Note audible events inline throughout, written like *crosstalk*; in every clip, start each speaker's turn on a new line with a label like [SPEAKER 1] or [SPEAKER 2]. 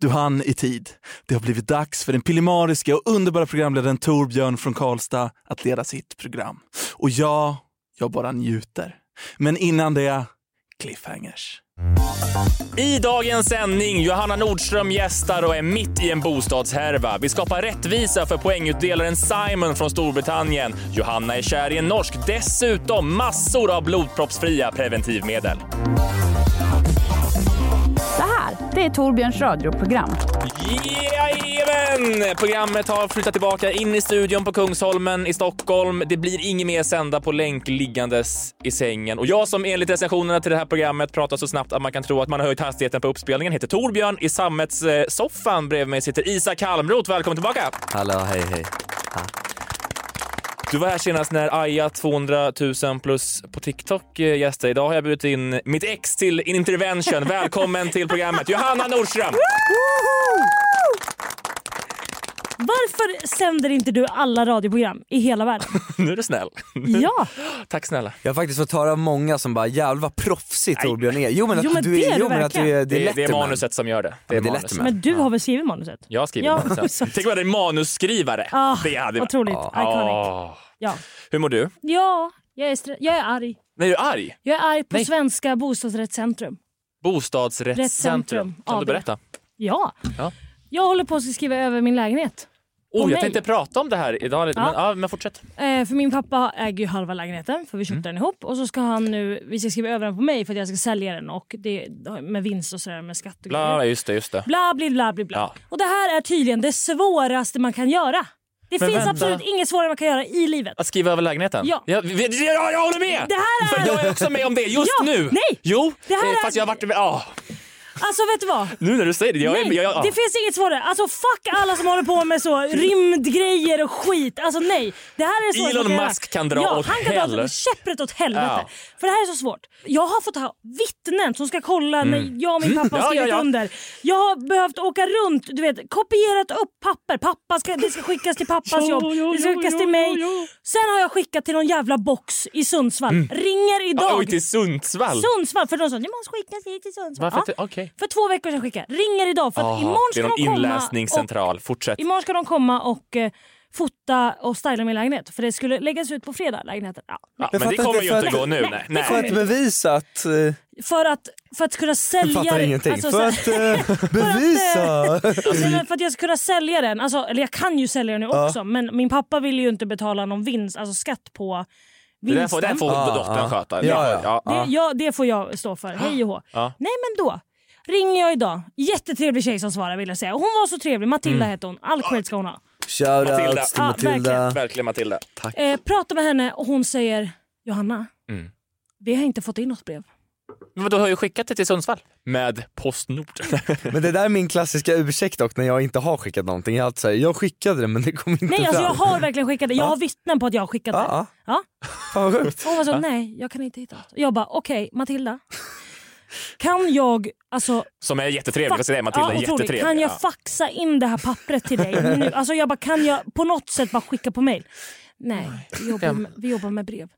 [SPEAKER 1] Du hann i tid. Det har blivit dags för den pillemariska och underbara programledaren Torbjörn från Karlstad att leda sitt program. Och jag, jag bara njuter. Men innan det, cliffhangers.
[SPEAKER 2] I dagens sändning, Johanna Nordström gästar och är mitt i en bostadshärva. Vi skapar rättvisa för poängutdelaren Simon från Storbritannien. Johanna är kär i en norsk, dessutom massor av blodproppsfria preventivmedel.
[SPEAKER 3] Det här, det är Torbjörns radioprogram.
[SPEAKER 2] Jajamän! Programmet har flyttat tillbaka in i studion på Kungsholmen i Stockholm. Det blir inget mer sända på länk liggandes i sängen. Och jag som enligt recensionerna till det här programmet pratar så snabbt att man kan tro att man har höjt hastigheten på uppspelningen heter Torbjörn. I sammetssoffan bredvid mig sitter Isak Halmroth. Välkommen tillbaka!
[SPEAKER 4] Hallå, hej, hej.
[SPEAKER 2] Du var här senast när Aja 200 000 plus på TikTok eh, gästade. Idag har jag bjudit in mitt ex till Intervention. Välkommen till programmet Johanna Nordström!
[SPEAKER 5] Varför sänder inte du alla radioprogram i
[SPEAKER 2] *laughs*
[SPEAKER 5] hela världen?
[SPEAKER 2] Nu är du snäll.
[SPEAKER 5] Ja,
[SPEAKER 2] Tack snälla.
[SPEAKER 4] Jag har faktiskt fått höra av många som bara jävlar vad proffsig Torbjörn är. Jo men att
[SPEAKER 5] Jo, men
[SPEAKER 4] du
[SPEAKER 5] det är
[SPEAKER 4] är,
[SPEAKER 5] du
[SPEAKER 4] jo, men att du är, det
[SPEAKER 2] Det,
[SPEAKER 4] är
[SPEAKER 2] det är
[SPEAKER 4] Letterman.
[SPEAKER 2] manuset som gör det.
[SPEAKER 4] Det är
[SPEAKER 2] manus.
[SPEAKER 4] Letterman.
[SPEAKER 5] men du har väl skrivit manuset?
[SPEAKER 2] Jag skriver
[SPEAKER 5] Ja, *laughs*
[SPEAKER 2] manuset.
[SPEAKER 5] exakt.
[SPEAKER 2] Tänk om jag hade en manusskrivare.
[SPEAKER 5] Ah,
[SPEAKER 2] det hade jag.
[SPEAKER 5] Otroligt. Iconic.
[SPEAKER 2] Ah.
[SPEAKER 5] Ja,
[SPEAKER 2] Hur mår du?
[SPEAKER 5] ja jag, är stre- jag är arg.
[SPEAKER 2] Nej, du är arg.
[SPEAKER 5] Jag är arg på
[SPEAKER 2] Nej.
[SPEAKER 5] Svenska bostadsrättscentrum.
[SPEAKER 2] Bostadsrättscentrum.
[SPEAKER 5] Rättscentrum.
[SPEAKER 2] Kan
[SPEAKER 5] Ja,
[SPEAKER 2] du
[SPEAKER 5] det-
[SPEAKER 2] berätta?
[SPEAKER 5] Ja.
[SPEAKER 2] Ja.
[SPEAKER 5] Jag håller på att skriva över min lägenhet.
[SPEAKER 2] Oh, jag
[SPEAKER 5] mig.
[SPEAKER 2] tänkte prata om det här idag. lite, Men, ja, men fortsätt.
[SPEAKER 5] Eh, för min pappa äger ju halva lägenheten för vi
[SPEAKER 2] Mm.
[SPEAKER 5] köpte den ihop och så ska han nu, vi ska skriva över den på mig för att jag ska sälja den och det med vinst och sådär med skatt och
[SPEAKER 2] Bla, bla, just det, just det.
[SPEAKER 5] Bla, bli, bla, bli, bla.
[SPEAKER 2] Ja.
[SPEAKER 5] Och det här är tydligen det svåraste man kan göra. Det
[SPEAKER 2] Men
[SPEAKER 5] finns
[SPEAKER 2] vänta.
[SPEAKER 5] absolut inget svårare man kan göra i livet.
[SPEAKER 2] Att skriva över lägenheten?
[SPEAKER 5] Ja.
[SPEAKER 2] Jag, vi- vi- ja, jag håller med!
[SPEAKER 5] Det här är-
[SPEAKER 2] För jag är också med om det just
[SPEAKER 5] Ja,
[SPEAKER 2] nu.
[SPEAKER 5] nej.
[SPEAKER 2] Jo,
[SPEAKER 5] Det här
[SPEAKER 2] eh,
[SPEAKER 5] är-
[SPEAKER 2] fast jag har varit... Ah,
[SPEAKER 5] Alltså vet du vad?
[SPEAKER 2] nu när du säger det. Jag är,
[SPEAKER 5] nej,
[SPEAKER 2] jag, ah.
[SPEAKER 5] det finns inget svårare. Alltså fuck alla som håller på med så rymdgrejer och skit. Alltså nej. Det här är det svåraste
[SPEAKER 2] Elon
[SPEAKER 5] man kan
[SPEAKER 2] Musk
[SPEAKER 5] göra.
[SPEAKER 2] kan dra
[SPEAKER 5] ja,
[SPEAKER 2] åt
[SPEAKER 5] han kan dra
[SPEAKER 2] hell.
[SPEAKER 5] åt käpprätt åt helvete.
[SPEAKER 2] Ja.
[SPEAKER 5] För det här är så svårt. Jag har fått ha vittnen som ska kolla när jag och min pappa
[SPEAKER 2] Mm. *laughs*
[SPEAKER 5] har
[SPEAKER 2] Ja,
[SPEAKER 5] skrivit
[SPEAKER 2] ja, ja.
[SPEAKER 5] under. Jag har behövt åka runt, du vet, kopierat upp papper. Pappa ska, det ska skickas till pappas jobb, det ska skickas till mig. Sen har jag skickat till någon jävla box i Sundsvall. Ringer idag.
[SPEAKER 2] Ah, oj, till Sundsvall.
[SPEAKER 5] Sundsvall, för de sa det måste skickas hit till Sundsvall.
[SPEAKER 2] Varför
[SPEAKER 5] Ja.
[SPEAKER 2] inte? Okej.
[SPEAKER 5] För två veckor sedan skickade jag. Ringer idag för att
[SPEAKER 2] Aha,
[SPEAKER 5] imorgon
[SPEAKER 2] det
[SPEAKER 5] ska
[SPEAKER 2] är någon
[SPEAKER 5] de komma
[SPEAKER 2] inläsningscentral. Fortsätt.
[SPEAKER 5] och, imorgon ska de komma och eh, fota och styla min lägenhet. För det skulle läggas ut på fredag, lägenheten. Ja.
[SPEAKER 2] Ja,
[SPEAKER 4] Jag
[SPEAKER 2] men det
[SPEAKER 4] fattar
[SPEAKER 2] kommer
[SPEAKER 4] inte,
[SPEAKER 2] ju inte
[SPEAKER 4] för-
[SPEAKER 2] gå nu.
[SPEAKER 5] Nej,
[SPEAKER 2] Nej,
[SPEAKER 5] det
[SPEAKER 2] nej.
[SPEAKER 4] För att bevisa att... eh,
[SPEAKER 5] För, att, för att kunna
[SPEAKER 4] Jag
[SPEAKER 5] sälja
[SPEAKER 4] fattar ingenting.
[SPEAKER 5] Alltså,
[SPEAKER 4] för
[SPEAKER 5] så-
[SPEAKER 4] att eh,
[SPEAKER 5] eh,
[SPEAKER 4] bevisa!
[SPEAKER 5] Nej, men för att jag ska kunna sälja den, alltså, eller jag kan ju sälja den nu också men min pappa vill ju inte betala någon vinst, alltså skatt på
[SPEAKER 2] Det
[SPEAKER 5] vinsten.
[SPEAKER 2] där får, den får
[SPEAKER 4] Ah,
[SPEAKER 2] dottern
[SPEAKER 4] ah.
[SPEAKER 2] sköta.
[SPEAKER 4] Ja,
[SPEAKER 2] Det-
[SPEAKER 4] ja.
[SPEAKER 5] Det, jag, det får jag stå för. Hej och hå.
[SPEAKER 2] Ja.
[SPEAKER 5] Nej men då ringer jag idag. Jättetrevlig tjej som svarar vill jag säga. Hon var så trevlig. Matilda
[SPEAKER 2] Mm.
[SPEAKER 5] hette hon. All cred ska hon ha.
[SPEAKER 2] Matilda.
[SPEAKER 4] Shoutouts till
[SPEAKER 5] Ja,
[SPEAKER 4] Matilda.
[SPEAKER 2] Verkligen Matilda.
[SPEAKER 5] Eh, pratar med henne och hon säger Johanna,
[SPEAKER 2] Mm.
[SPEAKER 5] vi har inte fått in något brev.
[SPEAKER 2] Men vadå, har ju skickat det till Sundsvall? Med Postnord.
[SPEAKER 4] Men det där är min klassiska ursäkt dock när jag inte har skickat någonting. Jag, är alltid så här, jag skickade det men det kom inte
[SPEAKER 5] Nej alltså
[SPEAKER 4] fram.
[SPEAKER 5] jag har verkligen skickat det. Jag
[SPEAKER 4] Ja.
[SPEAKER 5] har vittnen på att jag har skickat
[SPEAKER 4] Ja,
[SPEAKER 5] det.
[SPEAKER 4] ja.
[SPEAKER 5] Ja.
[SPEAKER 4] Fan vad sjukt.
[SPEAKER 5] Och hon var så, nej jag kan inte hitta något. Jag bara okej Matilda, kan jag alltså
[SPEAKER 2] *laughs* Som är jättetrevlig. Vad
[SPEAKER 5] Fax-
[SPEAKER 2] säger jag? Matilda?
[SPEAKER 5] ja, otroligt.
[SPEAKER 2] jättetrevlig.
[SPEAKER 5] Kan jag
[SPEAKER 2] Ja.
[SPEAKER 5] faxa in det här pappret till dig nu? Alltså jag bara, kan jag på något sätt bara skicka på mail? Nej, vi jobbar med, vi jobbar med brev.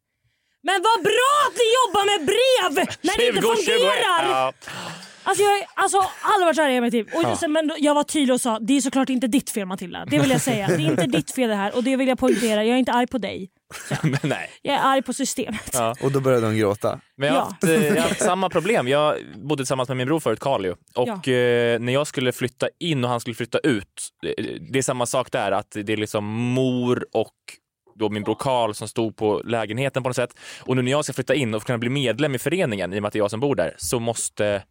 [SPEAKER 5] Men vad bra att ni jobbar med brev när det inte
[SPEAKER 2] 20, 21.
[SPEAKER 5] fungerar!
[SPEAKER 2] Ja.
[SPEAKER 5] Alltså jag är alltså, allvarligt arg i mitt liv. Och sen, men då- jag var tydlig och sa, det är såklart inte ditt fel Matilda. Det vill jag säga. Det är inte ditt fel det här och det vill jag poängtera. Jag är inte arg på dig.
[SPEAKER 2] *laughs* Men nej.
[SPEAKER 5] Jag är arg på systemet.
[SPEAKER 2] Ja.
[SPEAKER 4] Och då började hon gråta.
[SPEAKER 2] Men jag har
[SPEAKER 5] Ja.
[SPEAKER 2] haft, eh, jag har haft samma problem. Jag bodde tillsammans med min bror förut, Carl. ju. Och eh, när jag skulle flytta in och han skulle flytta ut, eh, det är samma sak där. Att det är liksom mor och då min bror Carl som stod på lägenheten på något sätt. Och nu när jag ska flytta in och kunna bli medlem i föreningen, i och med att det är jag som bor där, så måste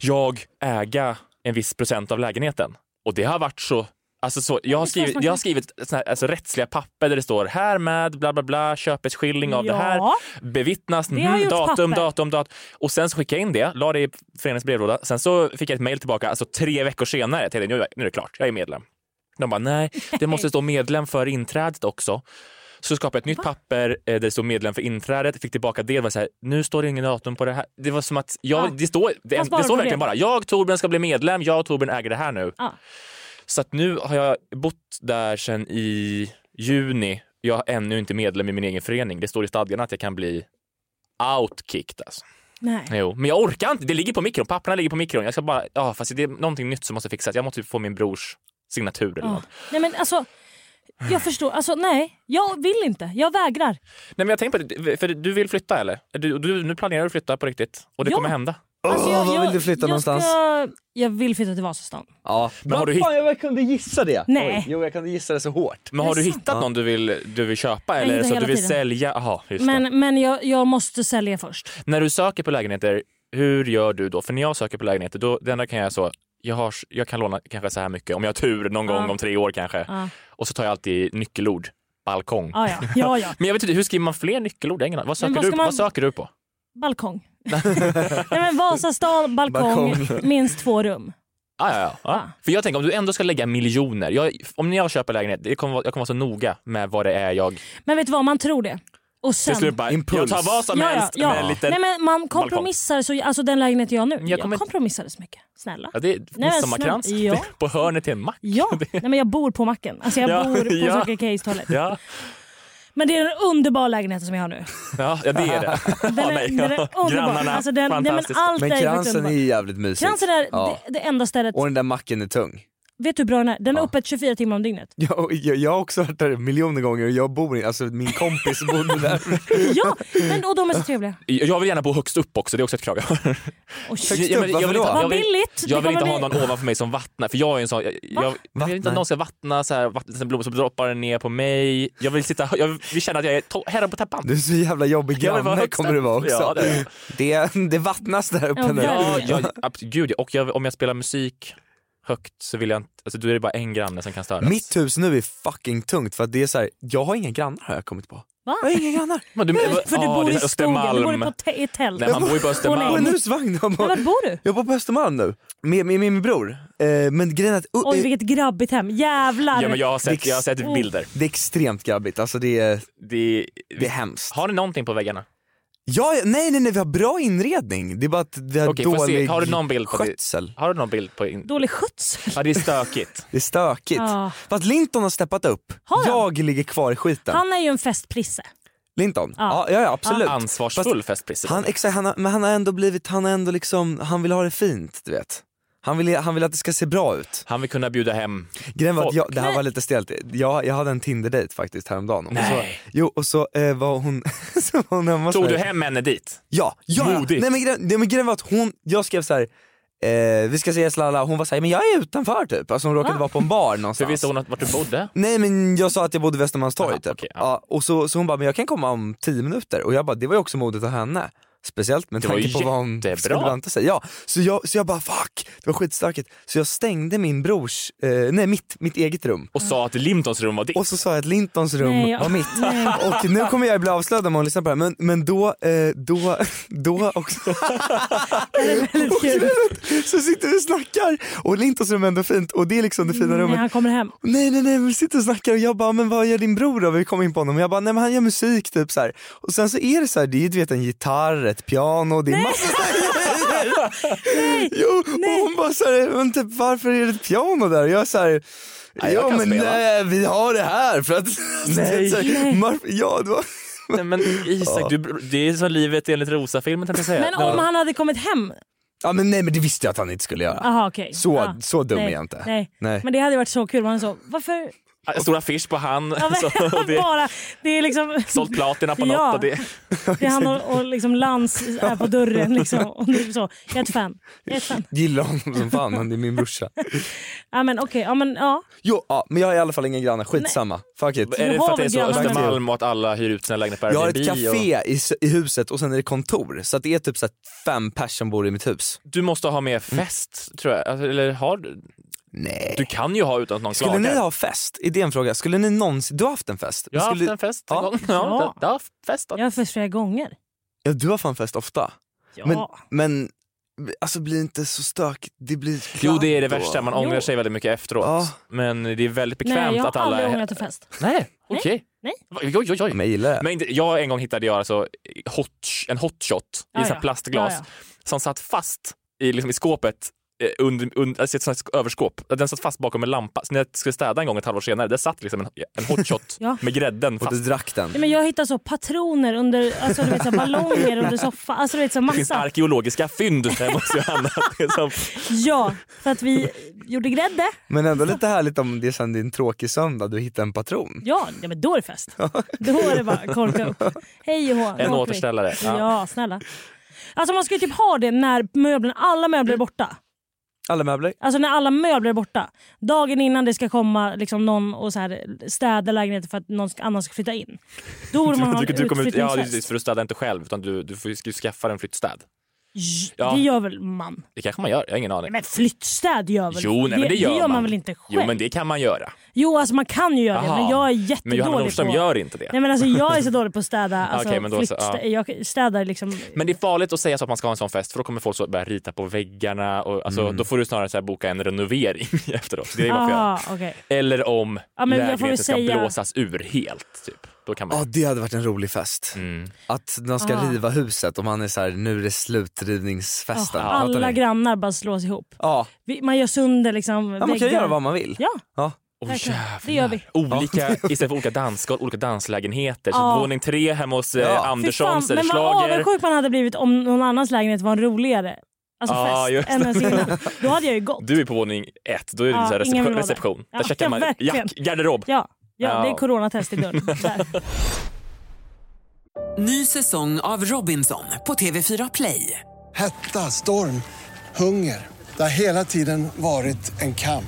[SPEAKER 2] jag äga en viss procent av lägenheten. Och det har varit så Alltså så, jag, har
[SPEAKER 5] Det känns
[SPEAKER 2] skrivit, jag
[SPEAKER 5] man kan-
[SPEAKER 2] har skrivit såna här, alltså rättsliga papper där det står härmed bla bla bla köpeskilling av det här
[SPEAKER 5] Ja.
[SPEAKER 2] bevittnas,
[SPEAKER 5] har
[SPEAKER 2] mhm,
[SPEAKER 5] gjort
[SPEAKER 2] datum,
[SPEAKER 5] papper.
[SPEAKER 2] datum, datum. Och sen så skickade jag in det, la det i föreningens brevlåda. Sen så fick jag ett mejl tillbaka, alltså tre veckor senare. Jag tänkte, nu, nu är det klart, jag är medlem. De bara, nej, det måste stå medlem för inträdet också. Så skapade jag ett nytt papper eh, där det stod medlem för inträdet, fick tillbaka det och var så här, nu står det ingen datum på det här. Det var som att, jag,
[SPEAKER 5] Ja.
[SPEAKER 2] det står, det,
[SPEAKER 5] Fast bara
[SPEAKER 2] det står
[SPEAKER 5] på
[SPEAKER 2] verkligen
[SPEAKER 5] det.
[SPEAKER 2] bara, jag Torbjörn ska bli medlem, jag Torbjörn äger det här nu.
[SPEAKER 5] Ja.
[SPEAKER 2] Så att nu har jag bott där sedan i juni, jag är ännu inte medlem i min egen förening. Det står i stadgarna att jag kan bli outkicked alltså.
[SPEAKER 5] Nej.
[SPEAKER 2] Jo, men jag orkar inte. Det ligger på mikron. Papperna ligger på mikron. Jag ska bara, ja, fast det är någonting nytt som måste fixas. Jag måste typ få min brors signatur eller
[SPEAKER 5] Ja.
[SPEAKER 2] något.
[SPEAKER 5] Nej men alltså, jag förstår. Alltså nej, jag vill inte. Jag vägrar.
[SPEAKER 2] Nej, men jag tänker på det, för du vill flytta eller? Du, du, nu planerar du att flytta på riktigt och det
[SPEAKER 5] Ja.
[SPEAKER 2] kommer hända.
[SPEAKER 5] Alltså, jag,
[SPEAKER 4] Åh, var vill
[SPEAKER 5] jag-
[SPEAKER 4] du flytta
[SPEAKER 5] jag
[SPEAKER 4] någonstans?
[SPEAKER 5] Ska, jag vill flytta till Vasastan.
[SPEAKER 4] Ja.
[SPEAKER 2] Men har du hitt-
[SPEAKER 4] Fan, jag kunde gissa det!
[SPEAKER 5] Nej.
[SPEAKER 4] Oj, jo, jag kunde gissa det så hårt.
[SPEAKER 2] Men har du
[SPEAKER 5] det
[SPEAKER 2] hittat någon du vill, du vill köpa
[SPEAKER 5] Jag
[SPEAKER 2] eller
[SPEAKER 5] hittar
[SPEAKER 2] så att du
[SPEAKER 5] hela
[SPEAKER 2] vill
[SPEAKER 5] tiden.
[SPEAKER 2] sälja? Aha, just det.
[SPEAKER 5] Men, men jag, jag måste sälja först.
[SPEAKER 2] När du söker på lägenheter, hur gör du då? För när jag söker på lägenheter, då, det enda kan jag så, jag, har, jag kan låna kanske så här mycket om jag har tur någon gång
[SPEAKER 5] Ja.
[SPEAKER 2] om tre år kanske.
[SPEAKER 5] Ja,
[SPEAKER 2] Och så tar jag alltid nyckelord, balkong.
[SPEAKER 5] Ah, ja, ja. ja, ja.
[SPEAKER 2] Men jag vet inte, hur skriver man fler nyckelord? Jag har ingen aning. Vad söker,
[SPEAKER 5] vad
[SPEAKER 2] du,
[SPEAKER 5] ska
[SPEAKER 2] på?
[SPEAKER 5] man-
[SPEAKER 2] vad söker du på?
[SPEAKER 4] *laughs*
[SPEAKER 5] Balkong. nej men Vasastan, balkong, minst två rum.
[SPEAKER 2] Ah, ja, ja, ja.
[SPEAKER 5] Ah.
[SPEAKER 2] För jag tänker om du ändå ska lägga miljoner. Jag, om jag köper lägenhet, det kommer, vara- jag kommer vara så noga med vad det är jag...
[SPEAKER 5] Men vet du vad, man tror det. Och sen...
[SPEAKER 2] Till slut bara, jag
[SPEAKER 4] Impuls.
[SPEAKER 2] tar vad som helst med en liten... Mm,
[SPEAKER 5] Nej, men man kompromissar, så, alltså den lägenheten jag har nu, jag,
[SPEAKER 2] kommer inte-
[SPEAKER 5] kompromissade så mycket. Snälla.
[SPEAKER 2] ja, det är
[SPEAKER 5] men
[SPEAKER 2] midsommarkrans
[SPEAKER 5] snälla, ja.
[SPEAKER 2] *laughs* på hörnet till en mack.
[SPEAKER 5] Ja,
[SPEAKER 2] *laughs*
[SPEAKER 5] nej, men jag bor på macken. Alltså jag
[SPEAKER 2] Ja,
[SPEAKER 5] bor på
[SPEAKER 2] *laughs* ja.
[SPEAKER 5] Circle K's toalett.
[SPEAKER 2] Ja,
[SPEAKER 5] Men det är den underbara lägenheten som jag har nu.
[SPEAKER 2] ja, *laughs* ja det är det.
[SPEAKER 5] Den är,
[SPEAKER 2] nej,
[SPEAKER 5] den är
[SPEAKER 2] ja.
[SPEAKER 5] underbar.
[SPEAKER 2] Grannarna,
[SPEAKER 5] alltså den, nej, men
[SPEAKER 2] fantastiska.
[SPEAKER 5] allt
[SPEAKER 4] Men
[SPEAKER 5] är ju faktiskt
[SPEAKER 4] kransen är
[SPEAKER 5] underbart.
[SPEAKER 4] ju jävligt mysig.
[SPEAKER 5] Kransen är
[SPEAKER 4] Ja.
[SPEAKER 5] det, det enda stället,
[SPEAKER 4] Och den där macken är tung. *laughs*
[SPEAKER 5] vet du hur bra den är? Den är öppet 24 timmar om dygnet.
[SPEAKER 4] Jag, jag, jag har också hört det här miljoner gånger och jag bor i, alltså min kompis bodde *laughs* där.
[SPEAKER 5] Ja, men, och de är så trevliga.
[SPEAKER 2] Jag vill gärna bo högst upp också, det är också ett krav jag har.
[SPEAKER 5] Oj,
[SPEAKER 4] Högst
[SPEAKER 2] Ja,
[SPEAKER 4] upp,
[SPEAKER 2] men jag
[SPEAKER 4] varför
[SPEAKER 2] vill inte
[SPEAKER 4] då?
[SPEAKER 5] vad billigt!
[SPEAKER 2] Jag
[SPEAKER 5] Det
[SPEAKER 2] vill inte
[SPEAKER 5] kommer
[SPEAKER 2] ha någon ovanför mig som vattnar, för jag är en sån... Jag, jag, jag vill inte att
[SPEAKER 4] Vattnar?
[SPEAKER 2] någon ska vattna så här, vattna blommor som droppar ner på mig. Jag vill sitta... Jag vill känna att jag är to- herren på täppan.
[SPEAKER 4] Du är så jävla jobbig
[SPEAKER 2] Jag vill vara
[SPEAKER 4] granne
[SPEAKER 2] högst
[SPEAKER 4] kommer du vara
[SPEAKER 2] upp.
[SPEAKER 4] också.
[SPEAKER 2] Ja, det är
[SPEAKER 4] det, det vattnas där uppe
[SPEAKER 5] Ja,
[SPEAKER 4] nu.
[SPEAKER 5] verkligen.
[SPEAKER 2] Ja, jag, abs- gud ja. Och jag, om jag spelar musik högt så vill jag inte, alltså då är det bara en granne som kan störas.
[SPEAKER 4] Mitt
[SPEAKER 5] Alltså.
[SPEAKER 4] hus nu är fucking tungt för att det är så här, jag har inga grannar har jag kommit på.
[SPEAKER 5] Va?
[SPEAKER 4] Jag har
[SPEAKER 5] *laughs*
[SPEAKER 4] inga grannar.
[SPEAKER 2] Men du,
[SPEAKER 5] För du
[SPEAKER 2] ja,
[SPEAKER 5] bor
[SPEAKER 2] det är
[SPEAKER 5] i skogen, du bor
[SPEAKER 2] Östermalm.
[SPEAKER 5] på te- i tält.
[SPEAKER 2] Nej, man bor ju på
[SPEAKER 5] Åh,
[SPEAKER 4] Och en
[SPEAKER 2] Östermalm.
[SPEAKER 5] nej.
[SPEAKER 4] husvagn. Jag
[SPEAKER 5] Men
[SPEAKER 4] bor,
[SPEAKER 5] var bor du?
[SPEAKER 4] jag bor på Östermalm nu med, med min bror. Eh, men grejen är att uh,
[SPEAKER 5] Oj
[SPEAKER 4] eh,
[SPEAKER 5] vilket grabbigt hem, jävlar!
[SPEAKER 2] Ja, men jag, har sett, jag har sett
[SPEAKER 5] Oh.
[SPEAKER 2] bilder.
[SPEAKER 4] det är extremt grabbigt, alltså det är,
[SPEAKER 2] Det,
[SPEAKER 4] det är hemskt.
[SPEAKER 2] har ni någonting på väggarna?
[SPEAKER 4] Ja, ja, nej nej nej, vi har bra inredning. Det är bara att vi har
[SPEAKER 2] Okej, får jag se.
[SPEAKER 4] dålig
[SPEAKER 2] Har du någon bild på det?
[SPEAKER 4] skötsel.
[SPEAKER 2] Har du någon bild på... In-
[SPEAKER 5] Dålig skötsel.
[SPEAKER 2] ja, det är *laughs* stökigt.
[SPEAKER 4] Det är stökigt.
[SPEAKER 5] Ja.
[SPEAKER 4] Fast Linton har steppat upp.
[SPEAKER 5] Ah. Har han?
[SPEAKER 4] jag ligger kvar i skiten.
[SPEAKER 5] Han Ah. är ju en festprisse.
[SPEAKER 4] Linton?
[SPEAKER 5] Ja.
[SPEAKER 4] Ja, ja, ja absolut.
[SPEAKER 2] Ansvarsfull festpris.
[SPEAKER 4] Han, exakt, han, har- men han har ändå blivit, han har ändå liksom, han vill ha det fint du vet. Han vill, han vill att det ska se bra ut.
[SPEAKER 2] Han vill kunna bjuda hem.
[SPEAKER 4] Grejen var att
[SPEAKER 2] Folk.
[SPEAKER 4] jag, det här
[SPEAKER 5] Nej.
[SPEAKER 4] var lite stelt, jag, jag hade en Tinder-date faktiskt häromdagen. Och
[SPEAKER 2] Nej.
[SPEAKER 4] Så, jo och så eh, var hon, *laughs* så var hon hemma hos
[SPEAKER 2] Tog
[SPEAKER 4] mig.
[SPEAKER 2] du hem henne dit?
[SPEAKER 4] Ja, ja, ja.
[SPEAKER 2] Modigt.
[SPEAKER 4] Nej, men, grejen- nej men grejen var att hon, jag skrev så här. Eh, vi ska ses lalla, hon var såhär, men jag är utanför typ. Alltså hon råkade vara på en bar
[SPEAKER 2] Ah. För
[SPEAKER 4] någonstans.
[SPEAKER 2] visste hon att- vart du bodde?
[SPEAKER 4] Nej men jag sa att jag bodde i Västermalmstorg
[SPEAKER 2] Aha,
[SPEAKER 4] typ.
[SPEAKER 2] okej, ja.
[SPEAKER 4] ja. och så, så hon bara, men jag kan komma om 10 minuter. Och jag bara, det var ju också modigt av henne. Speciellt med
[SPEAKER 2] Det var
[SPEAKER 4] tanke
[SPEAKER 2] ju
[SPEAKER 4] på vad hon
[SPEAKER 2] jättebra.
[SPEAKER 4] skulle vänta sig. Ja, så, jag, så jag bara fuck, det var skitstökigt. Så jag stängde min brors, eh, nej mitt, mitt eget rum.
[SPEAKER 2] Och sa att Lintons rum var ditt?
[SPEAKER 4] Och så sa jag att Lintons rum
[SPEAKER 5] Nej, jag-
[SPEAKER 4] var mitt. Och nu kommer jag bli avslöjad om hon lyssnar på det här. Men, men då, eh, då, då
[SPEAKER 5] *laughs*
[SPEAKER 4] också.
[SPEAKER 5] Väldigt kul.
[SPEAKER 4] så sitter vi och snackar och Lintons rum är ändå fint och det är liksom det fina
[SPEAKER 5] När
[SPEAKER 4] rummet.
[SPEAKER 5] Mm, han kommer hem.
[SPEAKER 4] Nej nej nej, vi sitter och snackar och jag bara, men vad gör din bror då? Vi kom in på honom och jag bara, nej men han gör musik typ så här. Och sen så är det så här, det är du vet en gitarr, ett piano, det är massa så
[SPEAKER 2] *laughs*
[SPEAKER 4] här grejer. Jo, och hon bara så här, men typ varför är det ett piano där? Och jag så här,
[SPEAKER 2] Nej, jag
[SPEAKER 4] ja
[SPEAKER 2] kan
[SPEAKER 4] men
[SPEAKER 2] spela."
[SPEAKER 4] nej vi har det här för att...
[SPEAKER 2] Nej.
[SPEAKER 4] *laughs* så här, "Mar- ja, det var...
[SPEAKER 2] Nej, men Isak, du, det är som livet enligt Rosa-filmen tänkte jag säga.
[SPEAKER 5] Men
[SPEAKER 2] Ja.
[SPEAKER 5] om han hade kommit hem?
[SPEAKER 4] ja men nej men det visste jag att han inte skulle göra.
[SPEAKER 5] Aha, okej.
[SPEAKER 4] Så,
[SPEAKER 5] Ja.
[SPEAKER 4] så dum
[SPEAKER 5] nej,
[SPEAKER 4] är jag inte.
[SPEAKER 5] Nej.
[SPEAKER 4] Nej.
[SPEAKER 5] Men det hade varit så kul om han sa, varför?
[SPEAKER 2] Ah, Stora affisch på han.
[SPEAKER 5] Ja, men,
[SPEAKER 2] *laughs*
[SPEAKER 5] *laughs*
[SPEAKER 2] så, det,
[SPEAKER 5] bara, det är liksom,
[SPEAKER 2] sålt platina på något.
[SPEAKER 5] Ja.
[SPEAKER 2] Och det,
[SPEAKER 5] det är han och, och liksom Lans är
[SPEAKER 2] *laughs*
[SPEAKER 5] på dörren liksom. Och typ så. Jag är ett fan. Jag är ett fan.
[SPEAKER 4] Gillar honom som fan, han är min brorsa.
[SPEAKER 5] Ja men okej, ja men ja.
[SPEAKER 4] Jo, ja, men jag har i alla fall inga grannar, skitsamma. Fuck it.
[SPEAKER 2] är det
[SPEAKER 5] har
[SPEAKER 2] för att det är
[SPEAKER 5] väl
[SPEAKER 2] så
[SPEAKER 5] grannar med-
[SPEAKER 2] Östermalm och att alla hyr ut sina lägenheter på
[SPEAKER 4] Jag har
[SPEAKER 2] Airbnb?
[SPEAKER 4] ett
[SPEAKER 2] Och,
[SPEAKER 4] café i, s- i huset och sen är det kontor. Så att det är typ så att fem personer som bor i mitt hus.
[SPEAKER 2] du måste ha med fest, tror jag. Alltså, Eller har du?
[SPEAKER 4] Nej.
[SPEAKER 2] Du kan ju ha utan att någon
[SPEAKER 4] Skulle
[SPEAKER 2] klagar.
[SPEAKER 4] ni ha fest? Är det en fråga? Skulle ni någonsin... Du har haft en fest?
[SPEAKER 2] jag har
[SPEAKER 4] skulle...
[SPEAKER 2] haft en fest en
[SPEAKER 4] Ja.
[SPEAKER 2] gång.
[SPEAKER 5] Ja.
[SPEAKER 2] Ja, jag har haft fest.
[SPEAKER 5] Jag har först flera gånger.
[SPEAKER 4] Ja, du har fan fest ofta.
[SPEAKER 5] Ja.
[SPEAKER 4] Men, men alltså blir inte så stökigt. Det blir klart
[SPEAKER 2] Jo, det är det
[SPEAKER 4] då.
[SPEAKER 2] värsta. Man
[SPEAKER 5] Jo.
[SPEAKER 2] ångrar sig väldigt mycket efteråt.
[SPEAKER 4] Ja.
[SPEAKER 2] Men det är väldigt bekvämt
[SPEAKER 5] Nej, jag
[SPEAKER 2] att
[SPEAKER 5] har
[SPEAKER 2] alla...
[SPEAKER 5] aldrig ångrat en fest.
[SPEAKER 2] Nej, okej.
[SPEAKER 5] Nej.
[SPEAKER 2] Oj, oj, oj, oj.
[SPEAKER 4] Men jag gillar det.
[SPEAKER 2] Men inte- jag en gång hittade jag alltså hot, en hotshot i
[SPEAKER 5] Ja,
[SPEAKER 2] så här
[SPEAKER 5] ja.
[SPEAKER 2] plastglas
[SPEAKER 5] Ja,
[SPEAKER 2] som satt fast i, liksom, i skåpet eh, under, under, alltså ett sånt här sk- överskåp. Den satt fast bakom en lampa. Så när jag skulle städa en gång ett halvår senare, där satt liksom en, en hotshot
[SPEAKER 5] *laughs* Ja.
[SPEAKER 2] med grädden
[SPEAKER 4] Och
[SPEAKER 2] fast.
[SPEAKER 4] du drack den.
[SPEAKER 5] Nej, men jag hittar så patroner under, alltså du vet så här, ballonger
[SPEAKER 2] *laughs*
[SPEAKER 5] under soffan. Alltså du vet så här,
[SPEAKER 2] Det finns
[SPEAKER 5] massa.
[SPEAKER 2] arkeologiska fynd eh, hemma hos Johanna. Liksom.
[SPEAKER 5] Ja, för att vi gjorde grädde.
[SPEAKER 4] Men ändå lite härligt om det sen din tråkig söndag, du hittar en patron.
[SPEAKER 5] Ja, ja men då är det fest. Då är det bara korka upp. Hej och hå, nu
[SPEAKER 2] En
[SPEAKER 5] åker vi.
[SPEAKER 2] återställare.
[SPEAKER 5] Ja. snälla. Alltså man ska ju typ ha det när möblerna, alla möbler är borta.
[SPEAKER 4] Alla möbler.
[SPEAKER 5] Alltså när alla möbler är borta. Dagen innan det ska komma liksom någon och så här städa lägenheten för att någon ska- annan ska flytta in. Då borde man ha en
[SPEAKER 2] Du, du kommer, ut- ja,
[SPEAKER 5] utflyttningsfest.
[SPEAKER 2] precis, för du städar inte själv utan du, du får ju ska ju skaffa en flyttstäd.
[SPEAKER 5] J-
[SPEAKER 2] Ja.
[SPEAKER 5] Det gör väl man?
[SPEAKER 2] Det kanske man gör, jag har ingen aning.
[SPEAKER 5] Men flyttstäd gör väl
[SPEAKER 2] Jo, nej, men det gör
[SPEAKER 5] man.
[SPEAKER 2] man.
[SPEAKER 5] väl inte själv?
[SPEAKER 2] Jo men det kan man göra.
[SPEAKER 5] Jo, alltså man kan ju göra
[SPEAKER 2] Aha.
[SPEAKER 5] det men jag är
[SPEAKER 2] Men Johanna
[SPEAKER 5] jättedålig på...
[SPEAKER 2] Nordström gör inte det.
[SPEAKER 5] Nej men alltså
[SPEAKER 2] *laughs*
[SPEAKER 5] jag är så dålig på att städa. Alltså,
[SPEAKER 2] Okej, men då så,
[SPEAKER 5] flyttstä- Jag städar liksom...
[SPEAKER 2] Men det är farligt att säga så att man ska ha en sån fest för då kommer folk så börja rita på väggarna och alltså,
[SPEAKER 4] Mm.
[SPEAKER 2] då får du snarare så här boka en renovering *laughs* efteråt. Det är det man får göra.
[SPEAKER 5] Aha, okej.
[SPEAKER 2] Eller om
[SPEAKER 5] Ja, men jag får väl
[SPEAKER 2] lägenheten ska
[SPEAKER 5] säga-
[SPEAKER 2] blåsas ur helt. Typ. Då kan man
[SPEAKER 4] Ja det hade varit en rolig fest.
[SPEAKER 2] mm.
[SPEAKER 4] Att de ska
[SPEAKER 5] Ah.
[SPEAKER 4] riva huset och man är så här, nu är det
[SPEAKER 5] Ja,
[SPEAKER 4] slutrivningsfesten. Fattar
[SPEAKER 5] Ah, alla
[SPEAKER 4] ni?
[SPEAKER 5] grannar bara slås ihop.
[SPEAKER 4] Ja,
[SPEAKER 5] Vi- Man gör sönder liksom
[SPEAKER 4] ja man kan göra vad man vill.
[SPEAKER 5] Ja,
[SPEAKER 2] Åh,
[SPEAKER 5] verkligen.
[SPEAKER 2] jävlar.
[SPEAKER 5] det gör vi.
[SPEAKER 2] Olika, istället för olika dansgolv, olika danslägenheter.
[SPEAKER 5] Ja.
[SPEAKER 2] Så våning tre hemma hos eh,
[SPEAKER 4] Ja.
[SPEAKER 5] Fy
[SPEAKER 2] Anderssons
[SPEAKER 5] fan,
[SPEAKER 2] eller
[SPEAKER 5] men vad
[SPEAKER 2] Schlager.
[SPEAKER 5] avundsjuk man hade blivit om någon annans lägenhet var en roligare alltså
[SPEAKER 2] Ja, just
[SPEAKER 5] fest än
[SPEAKER 2] det.
[SPEAKER 5] ens innan. Då hade jag ju gått.
[SPEAKER 2] Du är på våning ett, då är det
[SPEAKER 5] Ja,
[SPEAKER 2] så här
[SPEAKER 5] ingen
[SPEAKER 2] reception.
[SPEAKER 5] vill vara där.
[SPEAKER 2] reception.
[SPEAKER 5] Ja,
[SPEAKER 2] Där checkar man
[SPEAKER 5] verkligen.
[SPEAKER 2] jack, garderob.
[SPEAKER 5] Ja, ja, det
[SPEAKER 2] Ja.
[SPEAKER 5] är coronatest i
[SPEAKER 4] *laughs*
[SPEAKER 5] dörren. Där.
[SPEAKER 6] Ny säsong av Robinson på TV4 Play.
[SPEAKER 7] Hetta, storm, hunger. Det har hela tiden varit en kamp.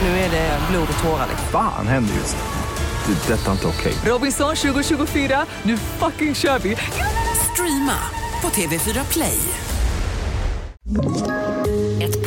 [SPEAKER 6] Nu är det blod och tårar.
[SPEAKER 8] Fan händer just det. Det är detta inte okej.
[SPEAKER 6] Robinson 2024, nu fucking kör vi! Streama på TV4 Play.
[SPEAKER 9] Ett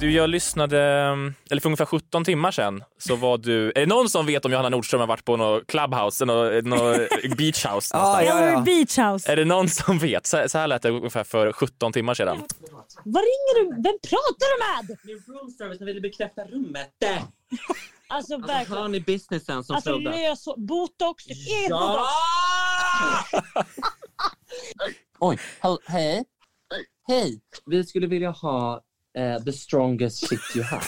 [SPEAKER 2] Du, jag lyssnade, mm, eller för ungefär 17 timmar sedan så var du, är det någon som vet om Johanna Nordström har varit på någon clubhouse, någon,
[SPEAKER 4] *laughs*
[SPEAKER 2] någon beachhouse
[SPEAKER 4] Ja,
[SPEAKER 2] någonstans?
[SPEAKER 4] ja,
[SPEAKER 5] Eller
[SPEAKER 4] ja. Eh.
[SPEAKER 5] beach house.
[SPEAKER 2] Är det någon som vet? Så, så här lät det ungefär för 17 timmar sedan.
[SPEAKER 5] Vad ringer du? Vem pratar du med?
[SPEAKER 9] Min room service ville bekräfta rummet.
[SPEAKER 5] Alltså
[SPEAKER 9] Alltså, hör
[SPEAKER 5] verkligen.
[SPEAKER 9] ni businessen som
[SPEAKER 5] Alltså
[SPEAKER 9] stod där?
[SPEAKER 5] lös botox. Du är botox.
[SPEAKER 9] *laughs* Oj, hall- hej. Hej. Vi skulle vilja ha eh, the strongest shit you have.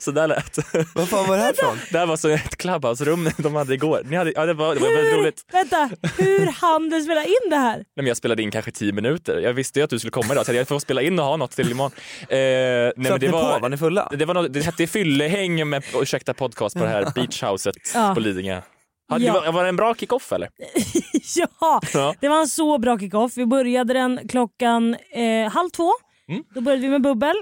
[SPEAKER 2] Så där lät det.
[SPEAKER 4] Vad fan var det här från?
[SPEAKER 2] Det här var så ett clubhouse-rum de hade igår. Ni hade, ja, det, var, det var
[SPEAKER 4] *laughs*
[SPEAKER 2] väldigt roligt.
[SPEAKER 5] Vänta, hur hann du spela in det här?
[SPEAKER 2] Nej, men jag spelade in kanske 10 minuter. Jag visste ju att du skulle komma idag så jag får spela in och ha något till imorgon. Eh, nej, men
[SPEAKER 4] Söp
[SPEAKER 2] det
[SPEAKER 4] ni
[SPEAKER 2] var,
[SPEAKER 4] på? Var ni fulla?
[SPEAKER 2] Det, var något, det hette fyllehäng med Ursäkta podcast på det här beachhuset
[SPEAKER 5] Ja.
[SPEAKER 2] på Lidingö. Ja,
[SPEAKER 5] Ja.
[SPEAKER 2] det var, var det en bra kick-off eller?
[SPEAKER 5] *laughs* Ja,
[SPEAKER 2] Ja.
[SPEAKER 5] det var en så bra kick-off. Vi började den klockan eh, halv två.
[SPEAKER 2] Mm.
[SPEAKER 5] Då började vi
[SPEAKER 2] *laughs*
[SPEAKER 5] med bubbel.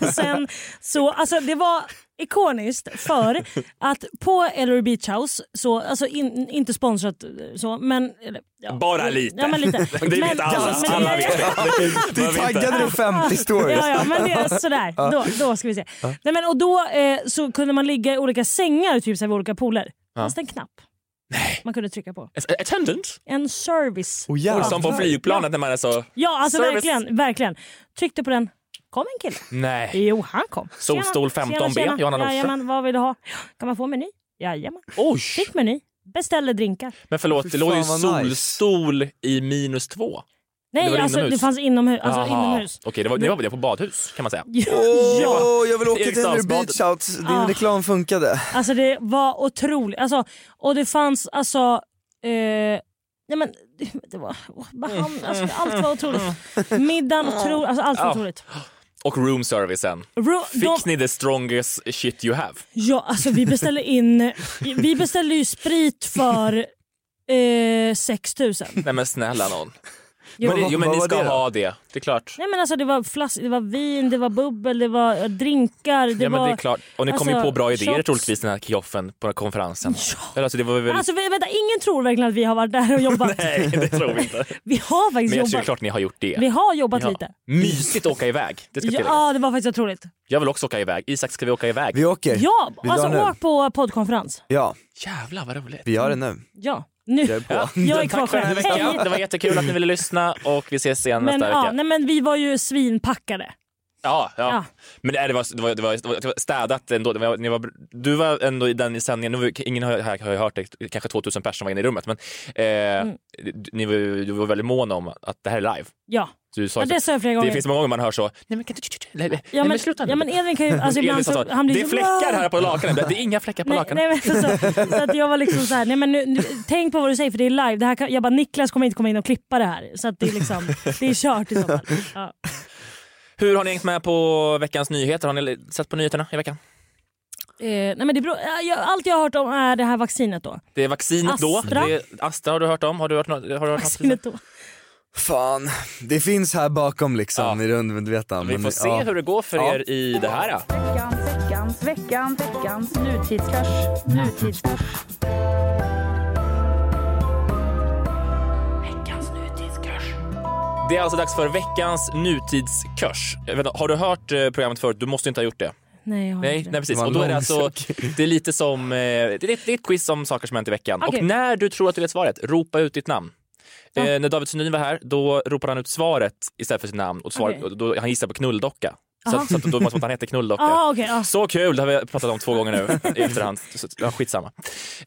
[SPEAKER 5] Och Sen, så, alltså, det var ikoniskt för att på Ellery Beach House, så, alltså in, inte sponsrat eh, så, men... eller, Ja,
[SPEAKER 2] Bara lite.
[SPEAKER 5] Ja, men lite.
[SPEAKER 2] *laughs* Det vet
[SPEAKER 5] Men-
[SPEAKER 2] alla.
[SPEAKER 5] men-
[SPEAKER 2] alla vet det.
[SPEAKER 4] Du
[SPEAKER 2] Man vet det.
[SPEAKER 4] taggade dig 50 stories.
[SPEAKER 5] Ja, ja, men det är sådär. Då, då ska vi se. Nej, men, och då eh, så kunde man ligga i olika sängar typ, så här, vid olika pooler. Fanns det en knapp man kunde trycka på.
[SPEAKER 2] Attendant?
[SPEAKER 5] En service.
[SPEAKER 4] Åh, jävlar.
[SPEAKER 2] Som på flygplanet när man är så...
[SPEAKER 5] Ja, alltså
[SPEAKER 2] Service.
[SPEAKER 5] verkligen, verkligen. Tryckte på den. Kom en kille.
[SPEAKER 2] Nej.
[SPEAKER 5] Jo, han kom.
[SPEAKER 2] *laughs*
[SPEAKER 5] Tjena,
[SPEAKER 2] Solstol 15B,
[SPEAKER 5] tjena, tjena.
[SPEAKER 2] Johanna Nordström.
[SPEAKER 5] Jajamän, vad vill du ha? Kan man få meny? Jajamän.
[SPEAKER 2] Oj!
[SPEAKER 5] Fick meny. Beställde drinkar.
[SPEAKER 2] Men förlåt, det
[SPEAKER 4] Fy
[SPEAKER 2] låg ju
[SPEAKER 4] fan, vad nice.
[SPEAKER 2] solstol i minus två.
[SPEAKER 5] Nej,
[SPEAKER 2] Det var
[SPEAKER 5] alltså,
[SPEAKER 2] inomhus.
[SPEAKER 5] det fanns inomhus. Alltså,
[SPEAKER 2] Jaha.
[SPEAKER 5] inomhus. *laughs*
[SPEAKER 2] Okej, det var, det var det på badhus kan man säga.
[SPEAKER 5] Ja.
[SPEAKER 4] Åh, jag vill åka till Henry
[SPEAKER 2] Eriksdalsbadet.
[SPEAKER 4] Beach Out. Din
[SPEAKER 5] Ah.
[SPEAKER 4] reklam funkade.
[SPEAKER 5] Alltså det var otroligt. Alltså, och det fanns alltså... Eh, nej men, det- det var, åh, vad han, alltså, allt var otroligt. Middagen, otro, alltså, allt var
[SPEAKER 2] Ja.
[SPEAKER 5] otroligt.
[SPEAKER 2] Och roomservicen.
[SPEAKER 5] Ro,
[SPEAKER 2] Fick
[SPEAKER 5] de,
[SPEAKER 2] ni the strongest shit you have?
[SPEAKER 5] ja, alltså, vi beställde in... Vi beställde ju sprit för eh, 6 000.
[SPEAKER 2] Nej men snälla någon. Jo,
[SPEAKER 5] Jo.
[SPEAKER 2] men, jo, men
[SPEAKER 5] Vad
[SPEAKER 2] ni
[SPEAKER 5] var
[SPEAKER 2] ska
[SPEAKER 5] det då?
[SPEAKER 2] ha det. Det är klart.
[SPEAKER 5] Nej men alltså det var flask, det var vin, det var bubbel, det var eh, drinkar. Det
[SPEAKER 2] ja, men
[SPEAKER 5] var,
[SPEAKER 2] det är klart. Och ni kommer ju
[SPEAKER 5] alltså,
[SPEAKER 2] på bra idéer
[SPEAKER 5] shots.
[SPEAKER 2] troligtvis den här kioffen på konferensen. Eller, Alltså, det var väl...
[SPEAKER 5] Alltså vi- vänta, ingen tror verkligen att vi har varit där och
[SPEAKER 2] *laughs*
[SPEAKER 5] jobbat.
[SPEAKER 2] Nej, det tror vi inte.
[SPEAKER 5] Vi har
[SPEAKER 2] Men
[SPEAKER 5] faktiskt *laughs*
[SPEAKER 2] jag tror
[SPEAKER 5] jobbat.
[SPEAKER 2] klart ni har gjort det.
[SPEAKER 5] Vi har jobbat lite.
[SPEAKER 2] Mysigt att åka iväg. Det ska Eh, tilläggas.
[SPEAKER 5] Ja, det var faktiskt otroligt.
[SPEAKER 2] Jag vill också åka iväg. Isak, ska vi åka iväg?
[SPEAKER 4] Vi åker.
[SPEAKER 5] Ja, alltså åk på poddkonferens.
[SPEAKER 4] Ja.
[SPEAKER 2] Jävlar vad roligt.
[SPEAKER 4] Vi gör det nu.
[SPEAKER 5] Ja, nu.
[SPEAKER 4] Jag är på.
[SPEAKER 5] Jag är kvar
[SPEAKER 2] Tack för den här
[SPEAKER 5] själv.
[SPEAKER 2] veckan.
[SPEAKER 5] Hej.
[SPEAKER 2] Det var jättekul att ni ville lyssna och vi ses igen
[SPEAKER 5] Men,
[SPEAKER 2] nästa vecka.
[SPEAKER 5] ja, nej, men vi var ju svinpackade.
[SPEAKER 2] Ja, ja.
[SPEAKER 5] Ja.
[SPEAKER 2] men nej, det var, det, var, det, var, det var städat ändå. Det var, ni var, du var ändå i den i sändningen, nu var- ingen har, här har ju hört det, kanske 2000 personer var inne i rummet, men eh,
[SPEAKER 5] Mm.
[SPEAKER 2] d- ni var, ju- du var väldigt mån om att det här är live.
[SPEAKER 5] Ja.
[SPEAKER 2] Så du sa
[SPEAKER 5] Ja,
[SPEAKER 2] ju
[SPEAKER 5] det
[SPEAKER 2] så-
[SPEAKER 5] sa jag flera gånger.
[SPEAKER 2] Det finns många gånger man hör så. Nej, men, kan du, nej, nej,
[SPEAKER 5] Ja,
[SPEAKER 2] nej,
[SPEAKER 5] men,
[SPEAKER 2] sluta nu.
[SPEAKER 5] ja, men Edvin kan ju... Alltså, ibland
[SPEAKER 2] Elin sa
[SPEAKER 5] så,
[SPEAKER 2] så,
[SPEAKER 5] han blir
[SPEAKER 2] det är
[SPEAKER 5] så-
[SPEAKER 2] fläckar här på lakanet. Det är inga fläckar på
[SPEAKER 5] Nej,
[SPEAKER 2] lakanet.
[SPEAKER 5] nej, men så, så att jag var liksom så här, nej men nu, nu, tänk på vad du säger för det är live. Det här kan, jag bara, Niklas kommer inte komma in och klippa det här. Så att det är liksom, det är kört i
[SPEAKER 2] *laughs*
[SPEAKER 5] så fall. Ja.
[SPEAKER 2] Hur har ni hängt med på veckans nyheter? Har ni sett på nyheterna i veckan?
[SPEAKER 5] Eh, nej, men det beror, eh, jag, allt jag har hört om är det här vaccinet då.
[SPEAKER 2] Det är vaccinet
[SPEAKER 5] Astra.
[SPEAKER 2] då. Det är, Astra har du hört om? Har du hört något? Har du hört något?
[SPEAKER 5] Vaccinet då.
[SPEAKER 4] Fan, det finns här bakom liksom i det undermedvetna.
[SPEAKER 2] Vi
[SPEAKER 4] men-
[SPEAKER 2] får se
[SPEAKER 4] ja.
[SPEAKER 2] hur det går för
[SPEAKER 4] Ja.
[SPEAKER 2] er i det här. Då.
[SPEAKER 3] Veckans, veckans, veckans nutidskurs. Nutidskurs. Veckans nutidskurs.
[SPEAKER 2] Det är alltså dags för veckans nutidskurs. Jag vet inte, Har du hört eh, programmet förut? Du måste inte ha gjort det.
[SPEAKER 5] Nej, jag har
[SPEAKER 2] Nej,
[SPEAKER 5] inte det.
[SPEAKER 2] nej precis.
[SPEAKER 4] var
[SPEAKER 2] Och då är det,
[SPEAKER 4] lång
[SPEAKER 2] alltså, det är lite som eh, det är, ett- det är ett quiz om saker som hänt i veckan.
[SPEAKER 5] Okej.
[SPEAKER 2] Och när du tror att du vet svaret, ropa ut ditt namn.
[SPEAKER 5] Ja.
[SPEAKER 2] Eh, när David Sundin var här, då ropade han ut svaret istället för sitt namn. Och svar,
[SPEAKER 5] Okej.
[SPEAKER 2] och då, han gissade på knulldocka. Så,
[SPEAKER 5] Aha.
[SPEAKER 2] att, så att då var det som att han hette knulldocka.
[SPEAKER 5] Ah, okej, ah.
[SPEAKER 2] Så kul, det har vi pratat om två gånger nu i efterhand. Så, ja, skitsamma.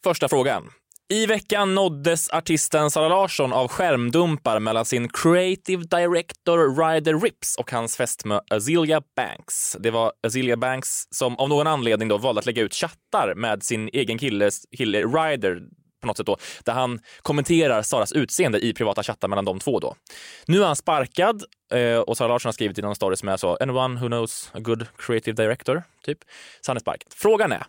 [SPEAKER 2] Första frågan. I veckan nåddes artisten Sara Larsson av skärmdumpar mellan sin creative director Ryder Rips och hans fästmö Azealia Banks. Det var Azealia Banks som av någon anledning då valde att lägga ut chattar med sin egen kille, kille Ryder på något sätt då, där han kommenterar Saras utseende i privata chattar mellan de två. då. Nu är han sparkad eh, och Sara Larsson har skrivit i någon story som är så “Anyone who knows a good creative director”, typ. Så han är sparkad. Frågan är,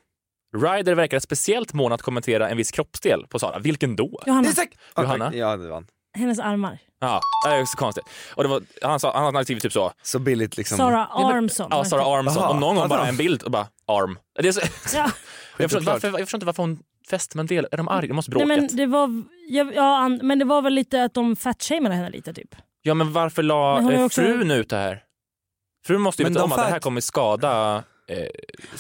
[SPEAKER 2] Ryder verkar speciellt mån att kommentera en viss kroppsdel på Sara. Vilken då?
[SPEAKER 5] Johanna,
[SPEAKER 4] Isak!
[SPEAKER 2] Johanna?
[SPEAKER 4] Ja, det vann.
[SPEAKER 5] hennes armar.
[SPEAKER 2] Ja, det är så konstigt. Och det var, han, sa, han hade skrivit typ så.
[SPEAKER 4] Så billigt liksom.
[SPEAKER 5] Sara Armson.
[SPEAKER 2] Ja, Sara Armson.
[SPEAKER 4] Aha,
[SPEAKER 2] och någon gång
[SPEAKER 4] alltså.
[SPEAKER 2] bara en bild och bara arm. Det är så,
[SPEAKER 5] Ja.
[SPEAKER 2] *laughs* jag, förstår, inte varför, jag förstår inte varför hon fäster med en del. Är de arga? De måste
[SPEAKER 5] Nej,
[SPEAKER 2] bråkat.
[SPEAKER 5] men, det var, ja, ja, an- men det var väl lite att de fatshameade henne lite typ.
[SPEAKER 2] Ja, men varför la
[SPEAKER 5] Men hon är
[SPEAKER 2] eh,
[SPEAKER 5] också-
[SPEAKER 2] frun ut det här? Frun måste ju
[SPEAKER 4] Men
[SPEAKER 2] veta
[SPEAKER 4] de
[SPEAKER 2] om att det här
[SPEAKER 4] fat-
[SPEAKER 2] kommer skada eh, sin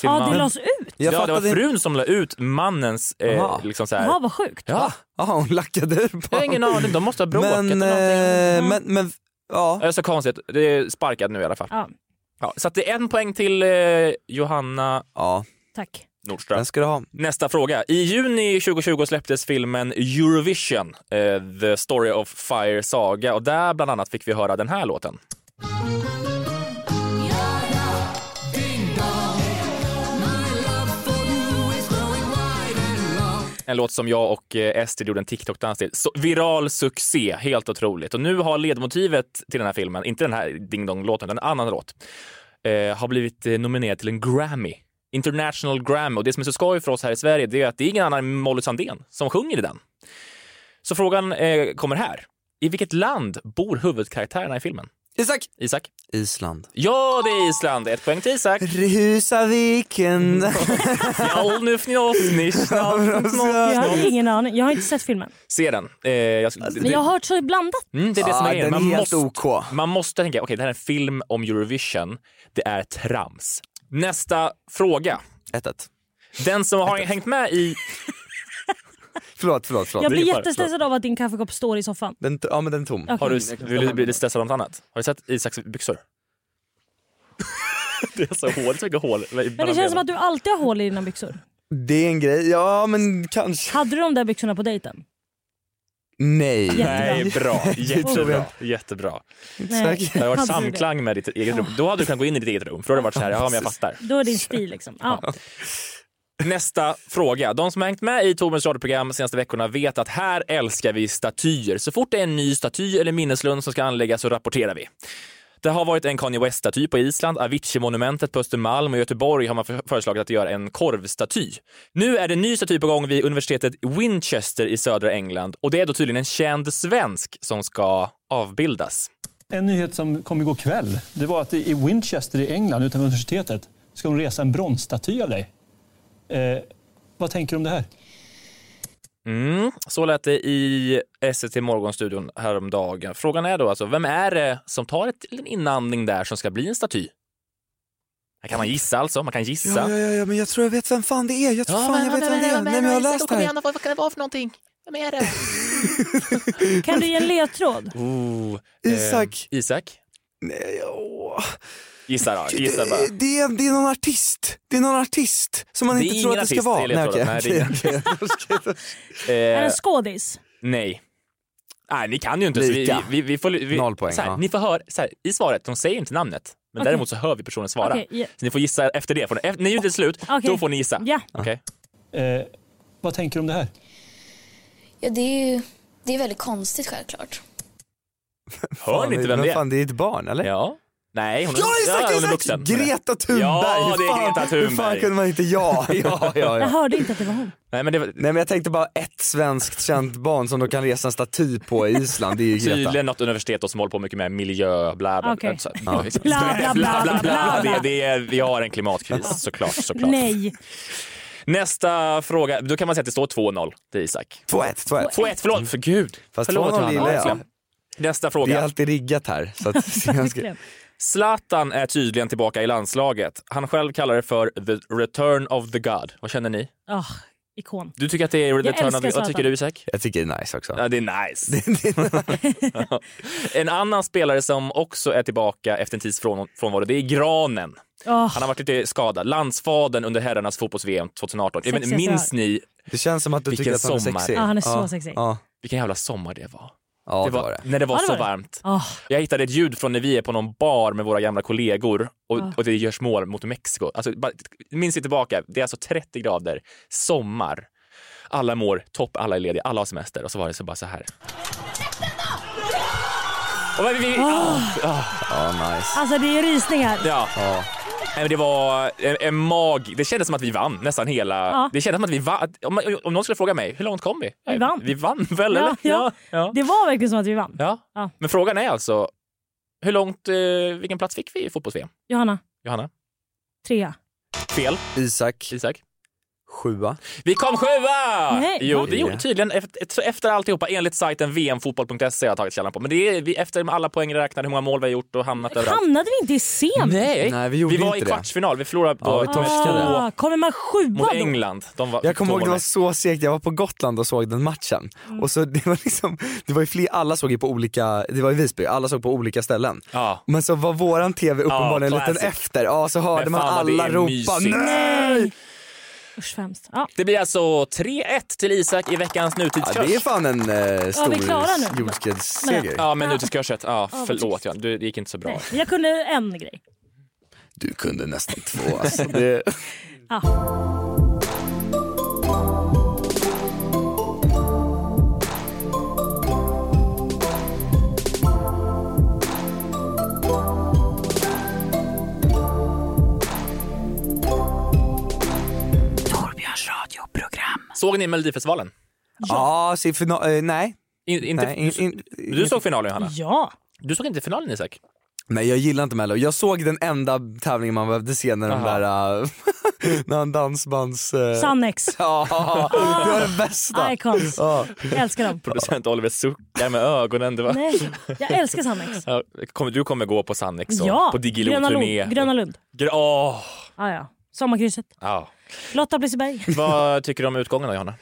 [SPEAKER 5] Ja,
[SPEAKER 2] man.
[SPEAKER 5] det lades ut.
[SPEAKER 4] Jag
[SPEAKER 2] ja, det var
[SPEAKER 4] fattade inte.
[SPEAKER 2] frun som la ut mannens... Eh,
[SPEAKER 4] Jaha.
[SPEAKER 2] liksom så här.
[SPEAKER 5] Ja, vad sjukt.
[SPEAKER 2] Ja,
[SPEAKER 4] Ja, hon lackade ur
[SPEAKER 2] jag
[SPEAKER 4] på
[SPEAKER 2] har ingen aning. De måste ha bråkat. eller
[SPEAKER 4] Men,
[SPEAKER 2] någonting.
[SPEAKER 4] eh, men, men, ja.
[SPEAKER 2] Det är så konstigt. Det är sparkad nu i alla fall.
[SPEAKER 5] Ja,
[SPEAKER 2] Ja, så att det är en poäng till eh, Johanna
[SPEAKER 4] Ja,
[SPEAKER 5] tack.
[SPEAKER 2] Nordström.
[SPEAKER 4] den ska du ha.
[SPEAKER 2] Nästa fråga. I juni 2020 släpptes filmen Eurovision, eh, The Story of Fire Saga och där bland annat fick vi höra den här låten. En låt som jag och eh, Ester gjorde en TikTok-dans till. Så, viral succé, helt otroligt. Och nu har ledmotivet till den här filmen, inte den här Ding Dong-låten, utan en annan låt, eh, har blivit eh, nominerad till en Grammy. International Grammy. Och det som är så skoj för oss här i Sverige det är att det är ingen annan än Molly Sandén som sjunger i den. Så frågan eh, kommer här. I vilket land bor huvudkaraktärerna i filmen?
[SPEAKER 4] Isak!
[SPEAKER 2] Isak?
[SPEAKER 4] Island.
[SPEAKER 2] Ja, det är Island. Ett poäng till
[SPEAKER 4] *laughs*
[SPEAKER 2] Isak.
[SPEAKER 4] Rusaviken.
[SPEAKER 2] Mm.
[SPEAKER 4] *laughs*
[SPEAKER 5] Jag har
[SPEAKER 2] Fjallnufnjåfnischnafnjåfnjåfn.
[SPEAKER 5] ingen aning. Jag har inte sett filmen.
[SPEAKER 2] Se den. Eh, jag,
[SPEAKER 5] Men jag
[SPEAKER 2] det,
[SPEAKER 5] har hört så blandat.
[SPEAKER 2] mm, det är det som är
[SPEAKER 4] Ah,
[SPEAKER 2] grejen.
[SPEAKER 4] Alltså, den är
[SPEAKER 2] Man
[SPEAKER 4] helt
[SPEAKER 2] måste
[SPEAKER 4] OK.
[SPEAKER 2] Man måste tänka, okej det här är en film om Eurovision, det är trams. Nästa fråga.
[SPEAKER 4] 1-1.
[SPEAKER 2] Den som har hängt med i...
[SPEAKER 4] Förlåt, förlåt, förlåt.
[SPEAKER 5] Jag blir
[SPEAKER 2] Rippar,
[SPEAKER 5] jättestressad av att din kaffekopp står i soffan.
[SPEAKER 4] Den, ja men den är tom.
[SPEAKER 5] Ja.
[SPEAKER 2] Har du, vill du bli stressad av något annat? Har du sett Isaks byxor? *laughs* det är så hål, så mycket hål.
[SPEAKER 5] Men det känns som att du alltid har hål i dina byxor.
[SPEAKER 4] Det är en grej, ja men kanske.
[SPEAKER 5] Hade du de där byxorna på dejten?
[SPEAKER 4] Nej.
[SPEAKER 2] Nej,
[SPEAKER 5] *laughs*
[SPEAKER 2] bra.
[SPEAKER 4] tror
[SPEAKER 2] Jättebra.
[SPEAKER 4] jag.
[SPEAKER 2] Jättebra.
[SPEAKER 5] Nej.
[SPEAKER 4] Säkert.
[SPEAKER 2] Det har varit
[SPEAKER 5] Hade du det?
[SPEAKER 2] samklang med ditt eget rum. Då hade du kunnat gå in i ditt eget rum, för då hade det varit så här, ja men jag fattar.
[SPEAKER 5] Då är din stil liksom. Ja.
[SPEAKER 2] Nästa fråga. De som har hängt med i Torbjörns radioprogram de senaste veckorna vet att här älskar vi statyer. Så fort det är en ny staty eller minneslund som ska anläggas så rapporterar vi. Det har varit en Kanye West-staty på Island, Avicii-monumentet på Östermalm och i Göteborg har man för- föreslagit att göra en korvstaty. Nu är det en ny staty på gång vid universitetet Winchester i södra England och det är då tydligen en känd svensk som ska avbildas.
[SPEAKER 10] En nyhet som kom igår kväll, det var att i Winchester i England, utanför universitetet, ska de resa en bronsstaty av dig. Eh, vad tänker du om det här?
[SPEAKER 2] Mm. Så lät det i SVT Morgonstudion häromdagen. Frågan är då alltså, vem är det som tar ett en inandning där som ska bli en staty? Här kan man gissa alltså, man kan gissa.
[SPEAKER 4] Ja, ja, ja, ja, men jag tror jag vet vem fan det är. Jag tror fan jag vet vem det är. Nej, men jag har läst det här.
[SPEAKER 11] vad kan det vara för någonting? Vem är det?
[SPEAKER 5] Kan du ge
[SPEAKER 2] *laughs*
[SPEAKER 5] en ledtråd?
[SPEAKER 2] Oh,
[SPEAKER 4] Isak.
[SPEAKER 2] Eh, Isak?
[SPEAKER 4] Nej, åh.
[SPEAKER 2] Gissa då, gissa
[SPEAKER 4] *laughs*
[SPEAKER 2] bara. Eh,
[SPEAKER 4] Det, det, är, det är någon artist. Det är någon artist som man
[SPEAKER 2] Det är
[SPEAKER 4] inte tror att
[SPEAKER 2] ingen
[SPEAKER 4] det ska
[SPEAKER 2] artist,
[SPEAKER 4] vara.
[SPEAKER 2] det är ledtråden. Nej, det är
[SPEAKER 4] okej, okej.
[SPEAKER 5] Är det
[SPEAKER 2] Eh,
[SPEAKER 5] en skådis?
[SPEAKER 2] nej. Nej, ni kan ju inte. Så vi,
[SPEAKER 4] Lika.
[SPEAKER 2] vi, vi får, vi,
[SPEAKER 4] Noll poäng,
[SPEAKER 2] Så här,
[SPEAKER 4] ja.
[SPEAKER 2] Ni får höra, så här, i svaret, de säger inte namnet. Men
[SPEAKER 5] Okej.
[SPEAKER 2] däremot så hör vi personen svara.
[SPEAKER 5] Okej, ja.
[SPEAKER 2] Så ni får gissa efter det. Får ni- efter- När ljudet är slut, då får ni gissa.
[SPEAKER 5] Ja.
[SPEAKER 2] Okej.
[SPEAKER 10] Eh, vad tänker du om det här?
[SPEAKER 12] Ja, det är ju det är väldigt konstigt självklart.
[SPEAKER 2] Hör
[SPEAKER 4] Fan,
[SPEAKER 2] ni inte vem det är?
[SPEAKER 4] Fan, det är ett barn, eller?
[SPEAKER 2] Ja. Nej, hon är,
[SPEAKER 4] Ja, Isak,
[SPEAKER 2] hon är
[SPEAKER 4] Isak!
[SPEAKER 2] vuxen.
[SPEAKER 4] Greta Thunberg!
[SPEAKER 2] Ja, det
[SPEAKER 4] Hur
[SPEAKER 2] är
[SPEAKER 4] fan-
[SPEAKER 2] Greta
[SPEAKER 4] Hur fan
[SPEAKER 2] Thunberg.
[SPEAKER 4] kunde man
[SPEAKER 2] *laughs*
[SPEAKER 4] inte... Ja, ja, ja.
[SPEAKER 5] Jag
[SPEAKER 4] ja.
[SPEAKER 5] hörde inte att det var hon.
[SPEAKER 2] Nej, men, det var...
[SPEAKER 4] Nej men jag tänkte bara ett svenskt känt barn som de kan resa en staty på i Island, det är ju Greta.
[SPEAKER 2] Tydligen något universitet då som håller på mycket med miljö, bla bla
[SPEAKER 5] Okej.
[SPEAKER 2] Så-
[SPEAKER 5] Ja. Bla, bla, bla, bla, bla.
[SPEAKER 2] Det, det är, vi har en klimatkris såklart. såklart.
[SPEAKER 5] Nej.
[SPEAKER 2] Nästa fråga, då kan man säga att det står 2-0 till Isak.
[SPEAKER 4] 2-1, 2-1.
[SPEAKER 2] 2-1, förlåt. För gud.
[SPEAKER 4] Mm. Fast
[SPEAKER 2] Förlåt,
[SPEAKER 4] 2-0
[SPEAKER 2] Hanna.
[SPEAKER 4] gillar jag.
[SPEAKER 2] Nästa
[SPEAKER 4] Det är
[SPEAKER 2] fråga.
[SPEAKER 4] alltid riggat här.
[SPEAKER 2] *laughs*
[SPEAKER 4] Så att jag ska...
[SPEAKER 2] Zlatan är tydligen tillbaka i landslaget. Han själv kallar det för the return of the God. Vad känner ni?
[SPEAKER 5] Ah, ikon.
[SPEAKER 2] Du tycker att det är
[SPEAKER 5] Jag
[SPEAKER 2] return
[SPEAKER 5] älskar
[SPEAKER 2] of the God. Vad
[SPEAKER 5] Zlatan.
[SPEAKER 2] tycker du Isak?
[SPEAKER 4] Jag tycker det är nice också.
[SPEAKER 2] Ja, det är nice. Ja. *laughs* en annan spelare som också är tillbaka efter en tids från- frånvaro, det är Granen.
[SPEAKER 5] Ah.
[SPEAKER 2] Han har varit lite skadad. Landsfadern under herrarnas fotbolls-VM 2018. Ja, Men,
[SPEAKER 5] Sexigaste
[SPEAKER 2] minns
[SPEAKER 5] jag
[SPEAKER 2] ni
[SPEAKER 4] Det känns som att du
[SPEAKER 2] Vilken
[SPEAKER 4] tycker att han är
[SPEAKER 2] sommar.
[SPEAKER 4] sexig.
[SPEAKER 5] Ja, han är så sexig.
[SPEAKER 2] vilken jävla sommar det var?
[SPEAKER 4] Ja,
[SPEAKER 2] det var, När det var
[SPEAKER 5] Ja, det
[SPEAKER 2] så
[SPEAKER 5] var det.
[SPEAKER 2] varmt.
[SPEAKER 5] Ah.
[SPEAKER 2] Jag hittade ett ljud från när vi är på någon bar med våra gamla kollegor och,
[SPEAKER 5] Ah.
[SPEAKER 2] och det görs mål mot Mexiko. Alltså, bara, minns ni tillbaka? Det är alltså 30 grader, sommar. Alla mår topp, alla är lediga, alla har semester och så var det så bara så här. Och vi, vi, ah, ah.
[SPEAKER 4] nice.
[SPEAKER 5] Alltså det är rysningar.
[SPEAKER 2] Ja. Nej, men Det var en, en mag... Det kändes som att vi vann nästan hela...
[SPEAKER 5] Ja.
[SPEAKER 2] Det kändes som att vi vann. Om, man- om någon skulle fråga mig, hur långt kom vi?
[SPEAKER 5] Vi vann.
[SPEAKER 2] Vi vann väl, eller?
[SPEAKER 5] Ja, ja. Det var verkligen som att vi vann.
[SPEAKER 2] Ja.
[SPEAKER 5] Ja.
[SPEAKER 2] Men frågan är alltså, hur långt, eh, vilken plats fick vi i fotbolls-VM?
[SPEAKER 5] Johanna,
[SPEAKER 2] Johanna?
[SPEAKER 5] trea.
[SPEAKER 2] Fel.
[SPEAKER 4] Isak.
[SPEAKER 2] Isak.
[SPEAKER 4] Sjua.
[SPEAKER 2] Vi kom sjua!
[SPEAKER 5] Nej,
[SPEAKER 2] jo,
[SPEAKER 5] va?
[SPEAKER 2] det gjorde tydligen efter, efter alltihopa enligt sajten vmfotboll.se jag har tagit källan på. Men det är vi, efter alla poäng räknade, hur många mål vi har gjort och hamnat överallt.
[SPEAKER 5] Hamnade vi inte i semi?
[SPEAKER 2] Nej,
[SPEAKER 4] Nej, vi gjorde
[SPEAKER 2] var
[SPEAKER 4] inte
[SPEAKER 2] i
[SPEAKER 4] det.
[SPEAKER 2] kvartsfinal. Vi förlorade
[SPEAKER 4] Ja,
[SPEAKER 2] då
[SPEAKER 4] vi torskade.
[SPEAKER 2] med två
[SPEAKER 5] Ah, kommer man sjua
[SPEAKER 2] mot
[SPEAKER 5] då?
[SPEAKER 2] England. De var,
[SPEAKER 4] Jag kommer
[SPEAKER 2] två
[SPEAKER 4] ihåg det
[SPEAKER 2] mål
[SPEAKER 4] var
[SPEAKER 2] med.
[SPEAKER 4] så segt, jag var på Gotland och såg den matchen.
[SPEAKER 5] Mm.
[SPEAKER 4] Och så det var liksom, det var ju fler, alla såg ju på olika, det var i Visby, alla såg på olika ställen.
[SPEAKER 2] Ja.
[SPEAKER 4] Men så var våran TV uppenbarligen
[SPEAKER 2] Ja,
[SPEAKER 4] en liten
[SPEAKER 2] classic.
[SPEAKER 4] efter, ja så hörde
[SPEAKER 2] Men
[SPEAKER 4] man
[SPEAKER 2] fan vad det
[SPEAKER 4] alla
[SPEAKER 2] är
[SPEAKER 4] ropa
[SPEAKER 2] mysigt.
[SPEAKER 4] NEJ!
[SPEAKER 5] Usch vad hemskt. Ja.
[SPEAKER 2] Det blir alltså 3-1 till Isak i veckans
[SPEAKER 4] Ja,
[SPEAKER 2] nutidskurs.
[SPEAKER 4] det är fan en eh,
[SPEAKER 5] vi
[SPEAKER 4] stor
[SPEAKER 5] klarar nu.
[SPEAKER 4] jordskredsseger.
[SPEAKER 2] Ja, men nutidskörset. Ja,
[SPEAKER 5] Ja,
[SPEAKER 2] förlåt. Ja, du- det gick inte så bra.
[SPEAKER 5] Nej, jag kunde en grej.
[SPEAKER 4] Du kunde nästan två alltså. Det...
[SPEAKER 5] Ja.
[SPEAKER 3] Torbjörns radioprogram.
[SPEAKER 2] Såg ni Melodifestivalen?
[SPEAKER 4] Ja, så i final, eh, nej.
[SPEAKER 2] In, inte,
[SPEAKER 4] Nej, in- in-
[SPEAKER 2] du, du såg finalen, Johanna?
[SPEAKER 5] Ja.
[SPEAKER 2] Du såg inte finalen, Isak?
[SPEAKER 4] Nej jag gillar inte mello. Jag såg den enda tävlingen man behövde se när de
[SPEAKER 2] Jaha.
[SPEAKER 4] där, eh, *laughs* när han dansbands... eh,
[SPEAKER 5] Sannex.
[SPEAKER 4] Ja, *laughs* det var det bästa.
[SPEAKER 5] Icons.
[SPEAKER 4] Ja.
[SPEAKER 5] Jag älskar dem.
[SPEAKER 2] Producent Oliver suckar med ögonen. Det var...
[SPEAKER 5] Nej, jag älskar Sannex.
[SPEAKER 2] Ja, kommer- Du kommer gå på Sannex och
[SPEAKER 5] Ja,
[SPEAKER 2] på
[SPEAKER 5] Gröna
[SPEAKER 2] Diggiloo-turné.
[SPEAKER 5] Lund. Gröna Lund.
[SPEAKER 2] Gr- åh,
[SPEAKER 5] Ah, ja. Sommarkrysset.
[SPEAKER 2] ja.
[SPEAKER 5] Lotta Bliseberg.
[SPEAKER 2] Vad tycker du om utgången då,
[SPEAKER 5] *laughs*
[SPEAKER 2] Johanna?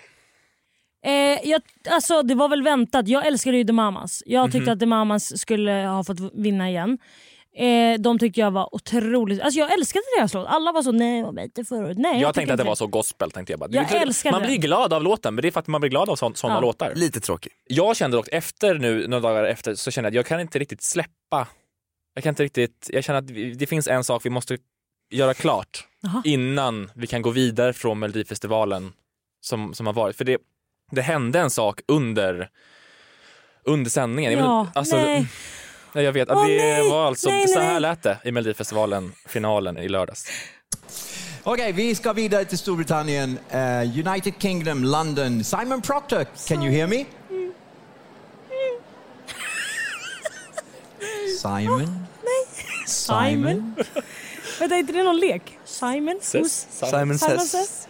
[SPEAKER 5] Eh, jag, alltså, det var väl väntat. Jag älskade ju The Mamas. Jag tyckte
[SPEAKER 2] Mhm.
[SPEAKER 5] att The Mamas skulle ha fått vinna igen. Eh, de tyckte jag var otroligt... Alltså, jag älskade deras låt. Alla var så nej, vad bättre förut. Nej,
[SPEAKER 2] Jag,
[SPEAKER 5] tycker
[SPEAKER 2] tänkte att det
[SPEAKER 5] inte
[SPEAKER 2] var så gospel. Tänkte jag bara.
[SPEAKER 5] Jag
[SPEAKER 2] det,
[SPEAKER 5] älskar
[SPEAKER 2] man
[SPEAKER 5] det.
[SPEAKER 2] blir glad av låten, men det är för att man blir glad av sån, såna
[SPEAKER 5] Ja.
[SPEAKER 2] låtar.
[SPEAKER 4] Lite tråkig.
[SPEAKER 2] Jag kände dock efter nu, några dagar efter, så kände jag att jag kan inte riktigt släppa. Jag kan inte riktigt, jag känner att vi- det finns en sak vi måste göra klart
[SPEAKER 5] Jaha.
[SPEAKER 2] innan vi kan gå vidare från Melodifestivalen som, som har varit. För det, det hände en sak under, under sändningen. Jag vet
[SPEAKER 5] Ja,
[SPEAKER 2] inte, alltså,
[SPEAKER 5] nej.
[SPEAKER 2] Ja, jag vet.
[SPEAKER 5] Åh,
[SPEAKER 2] det
[SPEAKER 5] nej!
[SPEAKER 2] var alltså,
[SPEAKER 5] Nej, nej,
[SPEAKER 2] så här
[SPEAKER 5] nej.
[SPEAKER 2] lät det i Melodifestivalen, finalen i lördags.
[SPEAKER 13] Okej, vi ska vidare till Storbritannien. Eh, United Kingdom, London. Simon Proctor, can you hear me? Simon?
[SPEAKER 5] Simon. Vänta, är inte det någon lek? Simon? Sus?
[SPEAKER 13] Simon Says.
[SPEAKER 5] Says?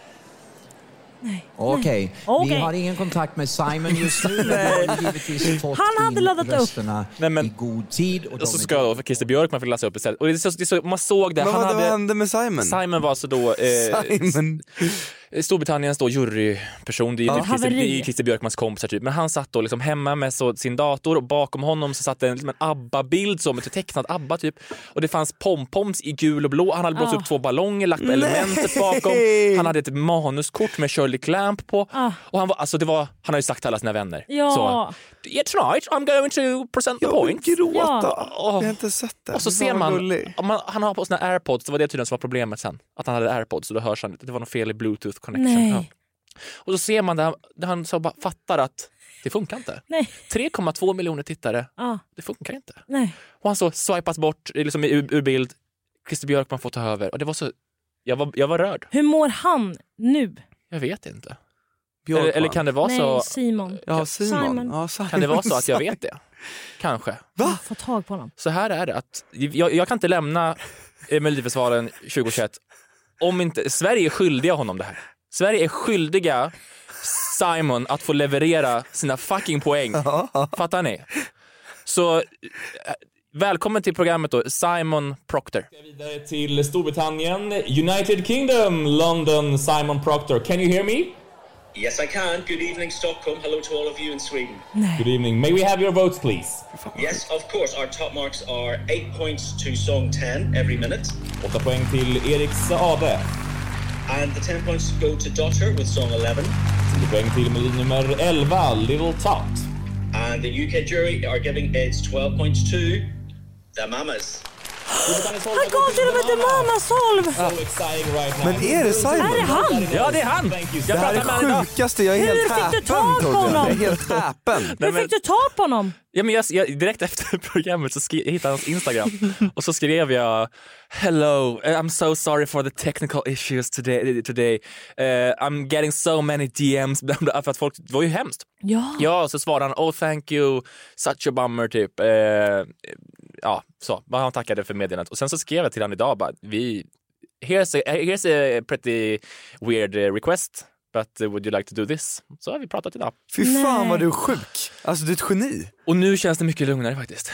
[SPEAKER 5] Nej.
[SPEAKER 13] Okej, vi
[SPEAKER 5] Okej.
[SPEAKER 13] har ingen kontakt med Simon just nu. men vi har givetvis fått
[SPEAKER 5] Han hade
[SPEAKER 13] in
[SPEAKER 5] laddat upp.
[SPEAKER 13] rösterna
[SPEAKER 2] Nej, men, I
[SPEAKER 13] god tid. Och,
[SPEAKER 2] och så ska då Christer Björkman få läsa upp istället. Och det är så, det är så, man såg det.
[SPEAKER 4] Men vad- vad hände
[SPEAKER 2] med Simon? Simon var alltså då eh,
[SPEAKER 4] Simon.
[SPEAKER 2] s- Storbritanniens då juryperson. Det är, ju
[SPEAKER 4] Ja.
[SPEAKER 2] typ Christer,
[SPEAKER 4] Haveri.
[SPEAKER 2] det är ju Christer Björkmans kompisar typ. Men han satt då liksom hemma med så, sin dator och bakom honom så satt en, liksom en ABBA-bild så med tecknad ABBA typ. Och det fanns pompoms i gul och blå. Han hade blåst
[SPEAKER 5] Ah.
[SPEAKER 2] upp två ballonger, lagt
[SPEAKER 5] Nej.
[SPEAKER 2] elementet bakom. Han hade ett manuskort med Shirley Clamp på. Och han var, alltså det var, han hade ju sagt till alla sina vänner. Så,
[SPEAKER 5] Ah. Ja.
[SPEAKER 2] Yeah, tonight I'm going to present the points.
[SPEAKER 5] gråta.
[SPEAKER 2] Jag har inte sett det. Och så ser man, om man, han har på sina airpods, det var det tydligen som var problemet sen. Att han hade airpods och då hörs han inte. Det var något fel i bluetooth connection.
[SPEAKER 5] Nej.
[SPEAKER 2] Ja. Och så ser man där, där han så bara fattar att det funkar inte.
[SPEAKER 5] Nej.
[SPEAKER 2] 3,2 miljoner tittare,
[SPEAKER 5] Ja.
[SPEAKER 2] det funkar inte.
[SPEAKER 5] Nej.
[SPEAKER 2] Och han så swipas bort eh, liksom, ur, ur bild. Christer Björkman får ta över. Och det var så, jag, var, jag var rörd.
[SPEAKER 5] Hur mår han nu?
[SPEAKER 2] Jag vet inte. Eller, eller kan det vara
[SPEAKER 5] Nej,
[SPEAKER 2] så?
[SPEAKER 5] Simon.
[SPEAKER 2] Ja,
[SPEAKER 4] Simon. Ja, Simon.
[SPEAKER 2] Kan det vara så att jag vet det? Kanske.
[SPEAKER 5] Va? Få tag på honom.
[SPEAKER 2] Så här är det att jag, jag kan inte lämna eh, Melodifestivalen 2021 om inte Sverige är skyldiga honom det här. Sverige är skyldiga Simon att få leverera sina fucking poäng. Fattar ni? Så eh, välkommen till programmet då, Simon Proctor. Vidare till Storbritannien, United Kingdom, London, Simon Proctor. Can you hear me?
[SPEAKER 14] Yes, I can. Good evening, Stockholm. Hello to all of you in Sweden.
[SPEAKER 2] Good evening. May we have your votes please?
[SPEAKER 14] Yes, of course. Our top marks are eight points to song 10 every minute.
[SPEAKER 2] Åtta poäng till Erik Saade.
[SPEAKER 14] And the 10 points go to Daughter with song 11.
[SPEAKER 2] Tio poäng till melodi nummer 11, Little Tot.
[SPEAKER 14] And the UK jury are giving its 12 points to The Mamas.
[SPEAKER 5] Han gav till och med till mamma Solv!
[SPEAKER 4] Men är det Simon?
[SPEAKER 5] Är det han?
[SPEAKER 2] Ja, det är han!
[SPEAKER 4] det här är det sjukaste, jag är
[SPEAKER 5] Hur
[SPEAKER 4] helt
[SPEAKER 5] fick du
[SPEAKER 4] häpen
[SPEAKER 5] tag på
[SPEAKER 4] Tobbe. Jag är
[SPEAKER 5] honom?
[SPEAKER 4] helt häpen.
[SPEAKER 2] Nej,
[SPEAKER 5] Hur
[SPEAKER 2] men-
[SPEAKER 5] fick du tag på honom?
[SPEAKER 2] Ja, men jag, jag, direkt efter *laughs* programmet så skri- jag hittade hans Instagram och så skrev jag “Hello, eh, I'm so sorry for the technical issues today. today. Eh, I'm getting so many DMs” bla, bla, för att folk, det var ju hemskt.
[SPEAKER 5] Ja.
[SPEAKER 2] Ja, och så svarade han “Oh thank you, such a bummer” typ. Eh, ja, så. Men Han tackade för meddelandet och sen så skrev jag till honom idag bara “Vi, here's a, here's a pretty weird eh, request, but eh, would you like to do this?” Så har vi pratat idag.
[SPEAKER 4] Fy fan
[SPEAKER 5] Nej.
[SPEAKER 4] vad du är sjuk. Alltså du är ett geni.
[SPEAKER 2] Och nu känns det mycket lugnare faktiskt.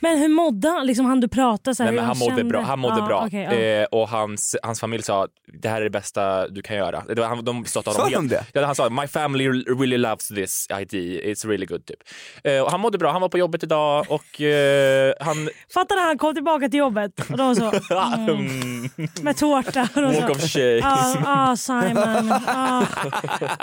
[SPEAKER 5] Men hur mådde han? Liksom han du pratade så här,
[SPEAKER 2] Nej, men
[SPEAKER 5] hur
[SPEAKER 2] han mådde
[SPEAKER 5] kände?
[SPEAKER 2] bra. Han mådde
[SPEAKER 5] Ja,
[SPEAKER 2] bra.
[SPEAKER 5] okej, ja.
[SPEAKER 2] eh, och hans, hans familj sa det här är det bästa du kan göra. Det var, han, de sa till
[SPEAKER 4] Sa
[SPEAKER 2] honom,
[SPEAKER 4] de det?
[SPEAKER 2] Ja, han sa my family really loves this idea, it's really good. Typ. Eh, och han mådde bra, han var på jobbet idag och eh,
[SPEAKER 5] *laughs*
[SPEAKER 2] han...
[SPEAKER 5] Fattar när han kom tillbaka till jobbet och
[SPEAKER 2] *laughs*
[SPEAKER 5] de så, mm, med tårta. Och de
[SPEAKER 2] Walk
[SPEAKER 5] så,
[SPEAKER 2] of shame.
[SPEAKER 5] Ah, ah, Simon, ah,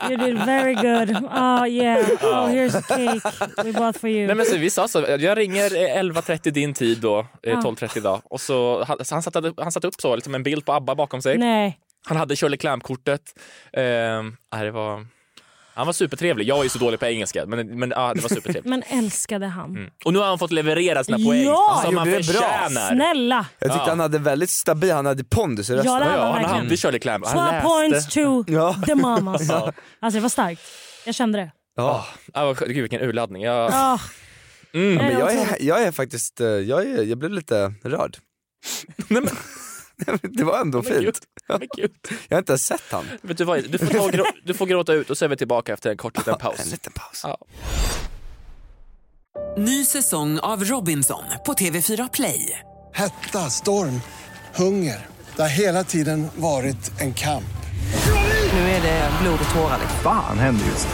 [SPEAKER 5] you did very good. Ah, yeah, oh, here's a cake we bought for you.
[SPEAKER 2] Nej, men så, vi sa så, jag ringer eh, 11.30 din tid då, eh,
[SPEAKER 5] Ja.
[SPEAKER 2] 12.30 idag. Och så, han, så han, satte, han satte upp så, liksom en bild på ABBA bakom sig.
[SPEAKER 5] Nej.
[SPEAKER 2] Han hade Shirley Clamp-kortet. Eh, nej, det var... Han var supertrevlig. Jag är ju så dålig på engelska, men, men ah, det var supertrevligt.
[SPEAKER 5] Men älskade han?
[SPEAKER 2] *laughs* Och nu har han fått leverera sina poäng
[SPEAKER 5] Ja!
[SPEAKER 2] som han
[SPEAKER 4] Gjorde det bra.
[SPEAKER 2] förtjänar.
[SPEAKER 5] Snälla!
[SPEAKER 4] Jag tyckte han hade väldigt stabil, han hade pondus i rösten.
[SPEAKER 5] Ja, det hade han
[SPEAKER 2] han
[SPEAKER 5] verkligen.
[SPEAKER 2] hade Shirley Clamp. Han
[SPEAKER 5] Twelve
[SPEAKER 2] läste.
[SPEAKER 5] points to
[SPEAKER 4] Ja.
[SPEAKER 5] the mamas.
[SPEAKER 2] Ja.
[SPEAKER 5] Alltså det var starkt. Jag kände det.
[SPEAKER 2] Ja. Ah, vad skönt. Gud vilken urladdning. Jag...
[SPEAKER 5] Ah,
[SPEAKER 4] Mm.
[SPEAKER 5] Nej,
[SPEAKER 4] Men jag,
[SPEAKER 5] jag tror-
[SPEAKER 4] är, jag är faktiskt, eh, jag, är, jag blev lite rörd. *laughs* det var ändå
[SPEAKER 2] Men gud,
[SPEAKER 4] fint. Jag har inte ens sett han.
[SPEAKER 2] Vet du, vad, du, får ta och grå, du får gråta ut och så är vi tillbaka efter en kort liten paus. En
[SPEAKER 4] liten paus.
[SPEAKER 6] Ny säsong av Robinson på TV4 Play.
[SPEAKER 7] Hetta, storm, hunger. Det har hela tiden varit en kamp.
[SPEAKER 6] Nu är det blod och tårar.
[SPEAKER 8] Fan händer just det.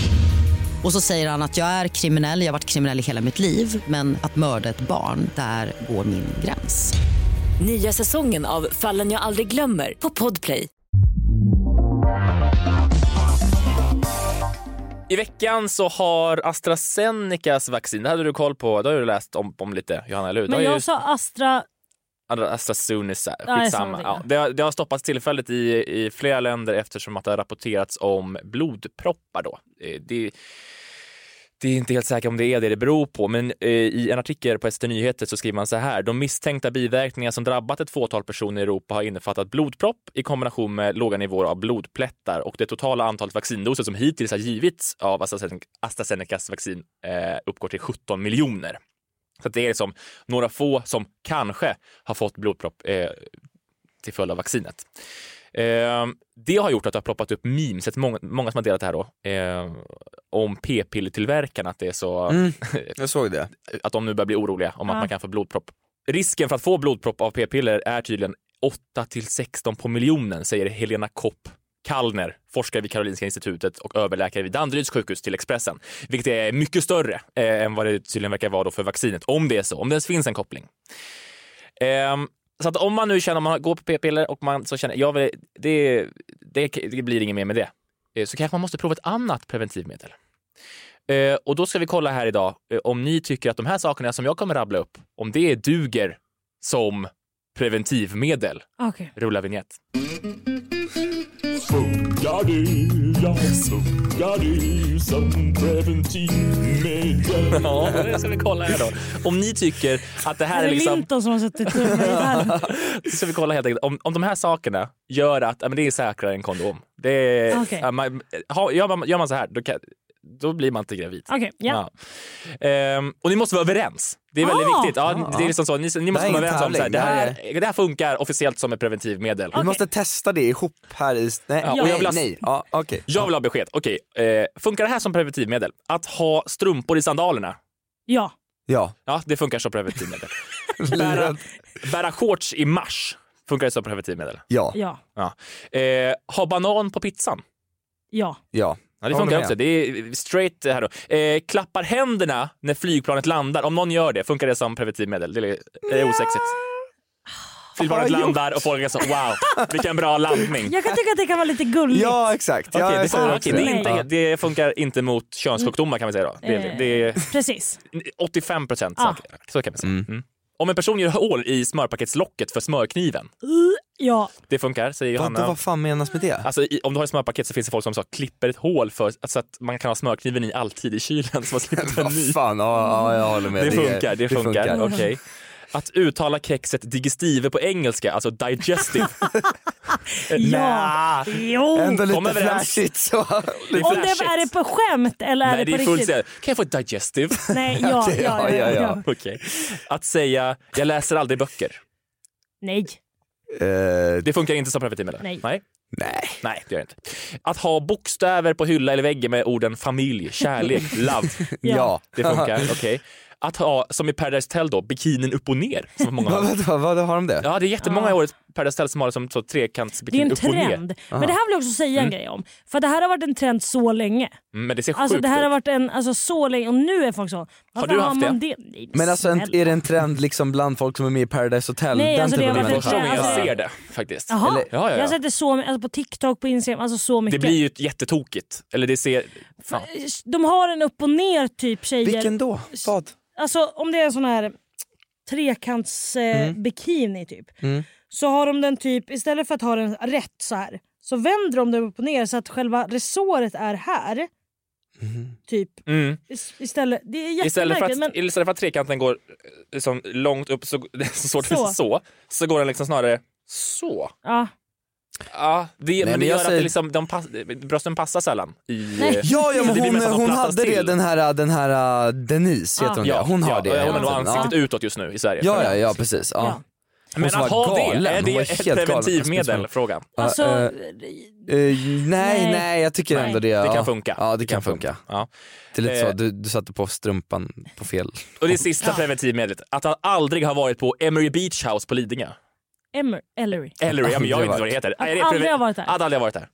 [SPEAKER 15] Och så säger han att jag är kriminell, jag har varit kriminell i hela mitt liv men att mörda ett barn, där går min gräns.
[SPEAKER 16] Nya säsongen av Fallen jag aldrig glömmer på Podplay.
[SPEAKER 2] I veckan så har AstraZenecas vaccin, det hade du koll på, det har du läst om, om lite Johanna, eller hur? Det
[SPEAKER 5] Men
[SPEAKER 2] har ju-
[SPEAKER 5] jag sa Astra...
[SPEAKER 2] Andra- AstraZeneca,
[SPEAKER 5] Ja, det är
[SPEAKER 2] alltså, skitsamma.
[SPEAKER 5] samma,
[SPEAKER 2] Ja, det, har, det har stoppats tillfälligt i, i flera länder eftersom att det har rapporterats om blodproppar. Då. Eh, Det, det är inte helt säkert om det är det det beror på, men eh, i en artikel på ST Nyheter så skriver man så här. De misstänkta biverkningar som drabbat ett fåtal personer i Europa har innefattat blodpropp i kombination med låga nivåer av blodplättar och det totala antalet vaccindoser som hittills har givits av AstraZeneca- AstraZenecas vaccin eh, uppgår till 17 miljoner. Så att det är liksom några få som kanske har fått blodpropp eh, till följd av vaccinet. Eh, det har gjort att det har ploppat upp memes, ett många, många som har delat det här då, eh, om p-pillertillverkarna, att det är så...
[SPEAKER 4] Mm, jag såg det.
[SPEAKER 2] Att de nu börjar bli oroliga om
[SPEAKER 4] Ja.
[SPEAKER 2] att man kan få blodpropp. Risken för att få blodpropp av p-piller är tydligen 8 till 16 på miljonen, säger Helena Kopp Kallner, forskare vid Karolinska institutet och överläkare vid Danderyds sjukhus till Expressen, vilket är mycket större eh, än vad det tydligen verkar vara då för vaccinet, om det är så, om det ens finns en koppling. Ehm, så att om man nu känner att man går på p-piller och man så känner jag vill, det, det, det blir inget mer med det, eh, så kanske man måste prova ett annat preventivmedel. Eh, och då ska vi kolla här idag eh, om ni tycker att de här sakerna som jag kommer rabbla upp, om det duger som preventivmedel.
[SPEAKER 5] Ah, Okej.
[SPEAKER 2] Rulla vignett.
[SPEAKER 17] Funkar du, ja, funkar du som preventivmedel?
[SPEAKER 2] *laughs* Ja, det ska vi kolla här då. Om ni tycker att det här är liksom...
[SPEAKER 5] Linton som har suttit och här.
[SPEAKER 2] *laughs* Så ska vi kolla helt enkelt. Om, om de här sakerna gör att ja, men det är säkrare än kondom. Det är,
[SPEAKER 5] Okej.
[SPEAKER 2] ja, man, ha, gör, man, gör man så här, då, kan, då blir man inte gravid.
[SPEAKER 5] Okej, ja.
[SPEAKER 2] Ja. Ehm, och ni måste vara överens. Det är väldigt
[SPEAKER 5] Ah!
[SPEAKER 2] viktigt. Ja, det är liksom så. Ni, ni måste vara
[SPEAKER 4] Det här är
[SPEAKER 2] överens om
[SPEAKER 4] ingen
[SPEAKER 2] så här, det,
[SPEAKER 4] tävling, det
[SPEAKER 2] här, det här funkar officiellt som ett preventivmedel.
[SPEAKER 4] Vi måste testa det ihop här i... Nej,
[SPEAKER 2] Ja, och jag vill ha-
[SPEAKER 4] nej, nej. Ja, okej.
[SPEAKER 2] Jag vill ha besked. Okej, eh, funkar det här som preventivmedel? Att ha strumpor i sandalerna?
[SPEAKER 5] Ja.
[SPEAKER 4] Ja.
[SPEAKER 2] Ja, det funkar som
[SPEAKER 4] *laughs*
[SPEAKER 2] preventivmedel. bära, bära shorts i mars? Funkar det som preventivmedel?
[SPEAKER 4] Ja.
[SPEAKER 5] Ja.
[SPEAKER 2] Ja. Eh, ha banan på pizzan?
[SPEAKER 5] Ja.
[SPEAKER 4] Ja.
[SPEAKER 2] Ja, det
[SPEAKER 4] Håller
[SPEAKER 2] funkar
[SPEAKER 4] med.
[SPEAKER 2] också. Det är straight här då. Eh, klappar händerna när flygplanet landar. Om någon gör det, funkar det som preventivmedel? Det är, det är osexigt. Flygplanet
[SPEAKER 5] Har jag gjort?
[SPEAKER 2] landar och folk är så wow, vilken bra landning.
[SPEAKER 5] Jag kan tycka att det kan vara lite gulligt.
[SPEAKER 4] Ja, exakt.
[SPEAKER 2] Okej,
[SPEAKER 4] Ja,
[SPEAKER 2] det,
[SPEAKER 4] jag säger
[SPEAKER 2] funkar-
[SPEAKER 4] också
[SPEAKER 2] okej, det, är
[SPEAKER 4] det.
[SPEAKER 2] inte,
[SPEAKER 4] Ja.
[SPEAKER 2] det funkar inte mot könssjukdomar kan vi säga då. Det, är- det är
[SPEAKER 5] Precis.
[SPEAKER 2] 85 procent
[SPEAKER 5] Ja.
[SPEAKER 2] säkert. Så kan vi säga. Mm. Om en person gör hål i smörpaketslocket för smörkniven,
[SPEAKER 5] Uh, Ja.
[SPEAKER 2] det funkar säger
[SPEAKER 4] Vadå,
[SPEAKER 2] Johanna.
[SPEAKER 4] vad fan menas med det?
[SPEAKER 2] Alltså, i, om du har ett smörpaket så finns det folk som så klipper ett hål för, så att man kan ha smörkniven i alltid i kylen så man slipper en ny.
[SPEAKER 4] *laughs* Vad fan, ja, ja, jag håller med.
[SPEAKER 2] Det
[SPEAKER 4] är-
[SPEAKER 2] funkar, det funkar. Okej.
[SPEAKER 4] Okej.
[SPEAKER 2] Att uttala kexet digestive på engelska, alltså digestive. Eh,
[SPEAKER 5] Ja. Jo.
[SPEAKER 4] Ändå
[SPEAKER 2] Kom
[SPEAKER 4] lite
[SPEAKER 2] överens. *laughs*
[SPEAKER 4] flashigt. Så.
[SPEAKER 2] Det är
[SPEAKER 5] Om det är det på skämt eller är
[SPEAKER 2] Nej,
[SPEAKER 5] det
[SPEAKER 2] det
[SPEAKER 5] på
[SPEAKER 2] är fullt
[SPEAKER 5] riktigt?
[SPEAKER 2] seriöst. Kan jag få ett
[SPEAKER 5] *laughs*
[SPEAKER 2] digestive?
[SPEAKER 5] Nej, ja,
[SPEAKER 2] *laughs*
[SPEAKER 5] ja, Okej, ja, ja, ja, ja.
[SPEAKER 2] Okej. Att säga, jag läser aldrig böcker.
[SPEAKER 5] Nej.
[SPEAKER 4] Eh,
[SPEAKER 2] Det funkar inte som preventivmedel?
[SPEAKER 5] Nej.
[SPEAKER 2] Nej. Nej. det gör det inte. Att ha bokstäver på hylla eller väggen med orden familj, kärlek, *laughs* love.
[SPEAKER 4] Ja.
[SPEAKER 2] Det funkar, okej. Att ha, som i Paradise Hotel då, bikinin upp och ner. Som många *laughs*
[SPEAKER 4] Vad,
[SPEAKER 2] har.
[SPEAKER 4] vad, vad, vad har de det?
[SPEAKER 2] Ja, det är jättemånga i årets Paradise Hotel som har det som så
[SPEAKER 5] Det är
[SPEAKER 2] trekantsbikini
[SPEAKER 5] en
[SPEAKER 2] upp och ner.
[SPEAKER 5] trend. Men det här vill jag också säga en
[SPEAKER 2] Mm.
[SPEAKER 5] grej om. För det här har varit en trend så länge.
[SPEAKER 2] Mm, Men det ser
[SPEAKER 5] Alltså
[SPEAKER 2] sjukt
[SPEAKER 5] det här har
[SPEAKER 2] ut.
[SPEAKER 5] varit en, alltså så länge och nu är folk så. Varför
[SPEAKER 2] du haft
[SPEAKER 5] man
[SPEAKER 2] det?
[SPEAKER 5] Nej,
[SPEAKER 4] Men alltså en,
[SPEAKER 5] snälla.
[SPEAKER 4] är det en trend liksom bland folk som är med i Paradise Hotel?
[SPEAKER 5] Nej,
[SPEAKER 4] den
[SPEAKER 5] alltså, det
[SPEAKER 4] typen
[SPEAKER 5] har
[SPEAKER 4] av
[SPEAKER 5] varit en
[SPEAKER 4] människor?
[SPEAKER 2] Första gången jag
[SPEAKER 5] Alltså-
[SPEAKER 2] ser det faktiskt.
[SPEAKER 5] Jaha,
[SPEAKER 2] Eller- ja, ja,
[SPEAKER 5] jag har
[SPEAKER 2] ja.
[SPEAKER 5] sett det så alltså på TikTok, på Instagram, alltså så
[SPEAKER 2] Det
[SPEAKER 5] mycket.
[SPEAKER 2] blir ju jättetokigt. Eller det ser... Ja.
[SPEAKER 5] De har en upp och ner typ tjejer.
[SPEAKER 4] Vilken då? Vad?
[SPEAKER 5] Alltså om det är en sån här trekants eh,
[SPEAKER 4] Mm.
[SPEAKER 5] bikini typ.
[SPEAKER 4] Mm.
[SPEAKER 5] Så har de den typ, istället för att ha den rätt så här. Så vänder de den upp och ner så att själva resåret är här. Typ.
[SPEAKER 2] Mm.
[SPEAKER 5] Ist- Istället, det är
[SPEAKER 2] Istället för, att,
[SPEAKER 5] jättemärkligt men
[SPEAKER 2] istället för att trekanten går eh, liksom långt upp så, *laughs* så, så,
[SPEAKER 5] Så.
[SPEAKER 2] så. så, så går den liksom snarare så.
[SPEAKER 5] ja.
[SPEAKER 2] Ja, det, men,
[SPEAKER 4] men
[SPEAKER 2] det
[SPEAKER 4] jag
[SPEAKER 2] gör att
[SPEAKER 4] säger-
[SPEAKER 2] det liksom, de pass, brösten passar sällan. I,
[SPEAKER 4] Ja, ja men
[SPEAKER 2] Det blir
[SPEAKER 4] hon,
[SPEAKER 2] mest att de
[SPEAKER 4] hon
[SPEAKER 2] plattas
[SPEAKER 4] hade det,
[SPEAKER 2] till.
[SPEAKER 4] den här, den här äh, Denise, heter hon
[SPEAKER 2] ja,
[SPEAKER 4] det? Hon har
[SPEAKER 2] ja,
[SPEAKER 4] det
[SPEAKER 2] Ja, hon
[SPEAKER 4] hela
[SPEAKER 2] har nog
[SPEAKER 4] tiden. Ja.
[SPEAKER 2] ansiktet utåt just nu i Sverige.
[SPEAKER 4] Ja, ja, ja precis. Ja. Hon
[SPEAKER 2] Men
[SPEAKER 4] som
[SPEAKER 2] att
[SPEAKER 4] var
[SPEAKER 2] ha det,
[SPEAKER 4] galen.
[SPEAKER 2] är
[SPEAKER 4] Hon
[SPEAKER 2] det
[SPEAKER 4] var
[SPEAKER 2] ett
[SPEAKER 4] helt galen.
[SPEAKER 2] preventivmedel? Frågan.
[SPEAKER 4] Ja,
[SPEAKER 5] Alltså,
[SPEAKER 4] eh, eh, nej, nej, jag tycker
[SPEAKER 2] Nej.
[SPEAKER 4] ändå det.
[SPEAKER 2] Det
[SPEAKER 4] ja.
[SPEAKER 2] kan funka.
[SPEAKER 4] Ja, det kan funka.
[SPEAKER 2] Ja.
[SPEAKER 4] Det är lite så,
[SPEAKER 2] Eh.
[SPEAKER 4] du, du satte på strumpan på fel.
[SPEAKER 2] Och det sista preventivmedlet, att han aldrig har varit på Emery Beach House på Lidingö.
[SPEAKER 5] Emmer, Ellery.
[SPEAKER 2] Eller ja, men jag vet inte vad det heter.
[SPEAKER 5] Att
[SPEAKER 2] Är det
[SPEAKER 5] aldrig
[SPEAKER 2] preven-
[SPEAKER 5] har varit där.
[SPEAKER 2] Att aldrig har varit där.